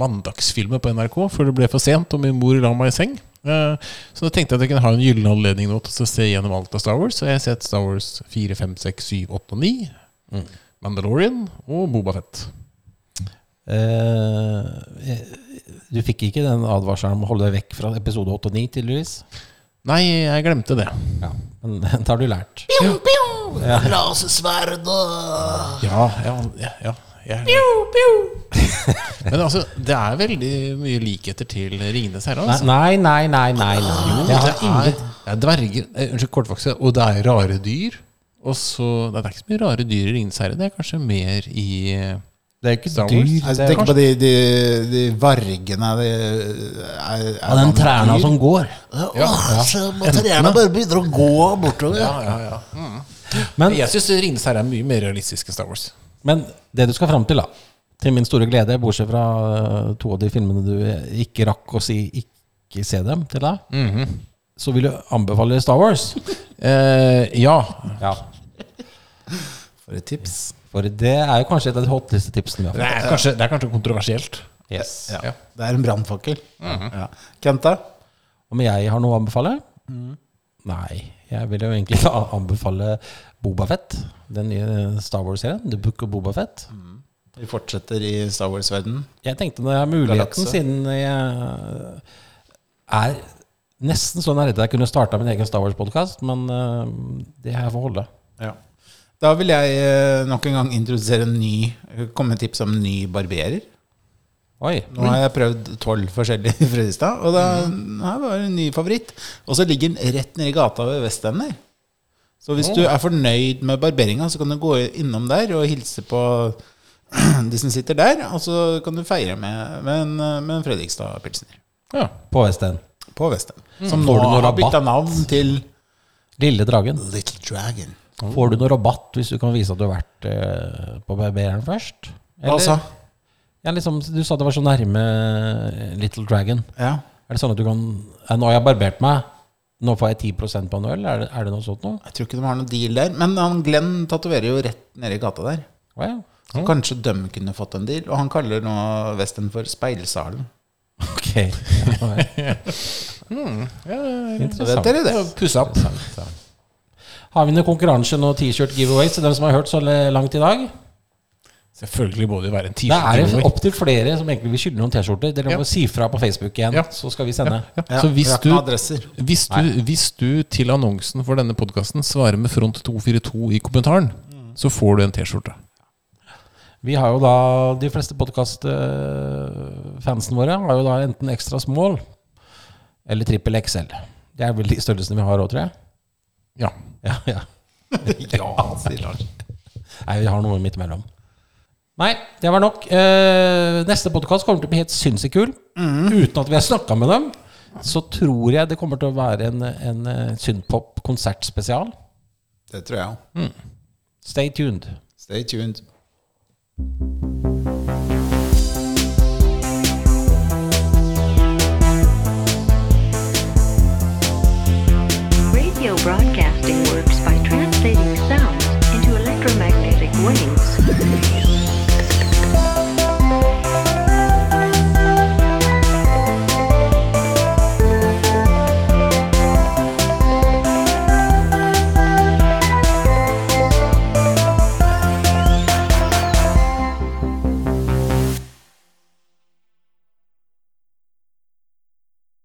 C: mandagsfilmer på NRK før det ble for sent og min mor la meg i seng. Eh, Så da tenkte jeg at jeg kunne ha en gyllen anledning nå til å se gjennom alt av Star Wars. Så jeg har sett Star Wars 4, 5, 6, 7, 8 og 9. Mandalorian og Boba Fett.
E: Eh, du fikk ikke den advarselen om å holde deg vekk fra episode 8 og 9, tydeligvis?
C: Nei, jeg glemte det.
E: Ja. Men *laughs* den har du lært.
C: Ja, ja, ja, ja. Jeg- Men altså, det er veldig mye likheter til 'Ringenes herre'. Altså.
E: Nei, nei, nei, nei. nei.
C: Det
E: Jeg
C: er,
E: har
C: det
E: ingen
C: er dverger eh, Unnskyld, kortvokste. Og det er rare dyr. Og så Nei, det er ikke så mye rare dyr i 'Ringenes herre'. Det er kanskje mer i eh,
E: Det er jo ikke
C: Star Wars.
E: dyr.
B: Altså,
E: det er
B: tenk
E: kanskje-
B: på de, de, de vargene de, er, er
E: Ja, den
B: andre
E: træna
B: dyr.
E: som går.
B: Trærne bare begynner å gå bortover.
C: Ja, ja, ja.
E: Men,
C: Jeg syns 'Ringenes herre' er mye mer realistisk enn Star Wars.
E: men det du skal fram til, da til min store glede, bortsett fra øh, to av de filmene du ikke rakk å si ikke se dem til da, Mhm. så vil du anbefale Star *laughs* Wars.
C: Eh, ja.
E: Ja.
B: For et tips.
E: For det er jo kanskje et av de hotteste tipsene vi
C: Det
E: har fått.
C: er kanskje, det er kanskje kontroversielt.
E: Yes.
B: Ja. Det er en brannfakkel.
C: Mhm.
B: ja. Kenta?
E: Om jeg har noe å anbefale? Nei. Jeg vil jo egentlig *laughs* da anbefale Bobafett. Den nye Star Wars-serien. The Book of Bobafett.
B: Vi fortsetter i Star Wars-verdenen.
E: Jeg tenkte når jeg har muligheten,
B: Galakse.
E: siden jeg er nesten så nær at jeg kunne starta min egen Star Wars-podkast, men eh, det her får holde.
B: Ja. Da vil jeg eh, nok en gang introdusere en ny komme med tips om en ny barberer.
E: Oi. Mm.
B: Nå har jeg prøvd tolv forskjellige *laughs* i Fredrikstad, og da, her var det en ny favoritt. Og så ligger den rett nede i gata ved Vestender. Så hvis du er fornøyd med barberinga, så kan du gå innom der og hilse på *clears throat* de som sitter der, og så kan du feire med, med en, med en Fredrikstad-pilsner
C: Ja.
E: På Vesten.
B: på Vestend. Som nå
E: Mm. Får du noe
B: har bytta
E: rabatt?
B: navn til
E: Lille Dragen.
B: Little Dragon.
E: Får du noe rabatt hvis du kan vise at du har vært eh, på barbereren først?
B: Hva sa?
E: Ja, liksom, du sa det var så nærme eh, Little Dragon.
B: Ja.
E: Er det sånn at du kan ja, Nå har jeg barbert meg. Nå får jeg 10 på en øl. Er det, er det noe sånt noe?
B: Jeg tror ikke de har noen deal der. Men han Glenn tatoverer jo rett nede i gata der.
E: Å ja.
B: Så kanskje de kunne fått en deal. Og han kaller nå Vesten for Speilsalen.
E: Ok. Ja,
B: *laughs* Hmm. Så vet dere det.
C: Pussa opp.
E: Har vi noen konkurranse og T-shirt giveaways til dem som har hørt så le- langt i dag?
C: Selvfølgelig må det jo være en
E: Det er
C: tirsdag.
E: opptil flere som egentlig vil skylde noen T-skjorter. Dere må
C: Ja.
E: si fra på Facebook igjen,
C: Ja.
E: så skal vi sende.
B: Ja,
C: Så hvis
B: vi har ikke
C: du,
B: noen adresser.
C: hvis, du, hvis du til annonsen for denne podkasten svarer med front 242 i kommentaren, så får du en T-skjorte.
E: Vi har jo da De fleste podkast-fansen våre har jo da enten ekstra small eller trippel XL. Det er vel de størrelsene vi har òg, tror jeg.
C: Ja.
E: Ja, ja. ja sier Lars. Nei, vi har noe midt imellom. Nei, det var nok. Eh, neste podkast kommer til å bli helt sinnssykt kul. Uten at vi har snakka med dem, så tror jeg det kommer til å være en, en eh, synthpop-konsertspesial.
B: Det tror jeg òg.
E: Stay tuned.
B: Stay tuned.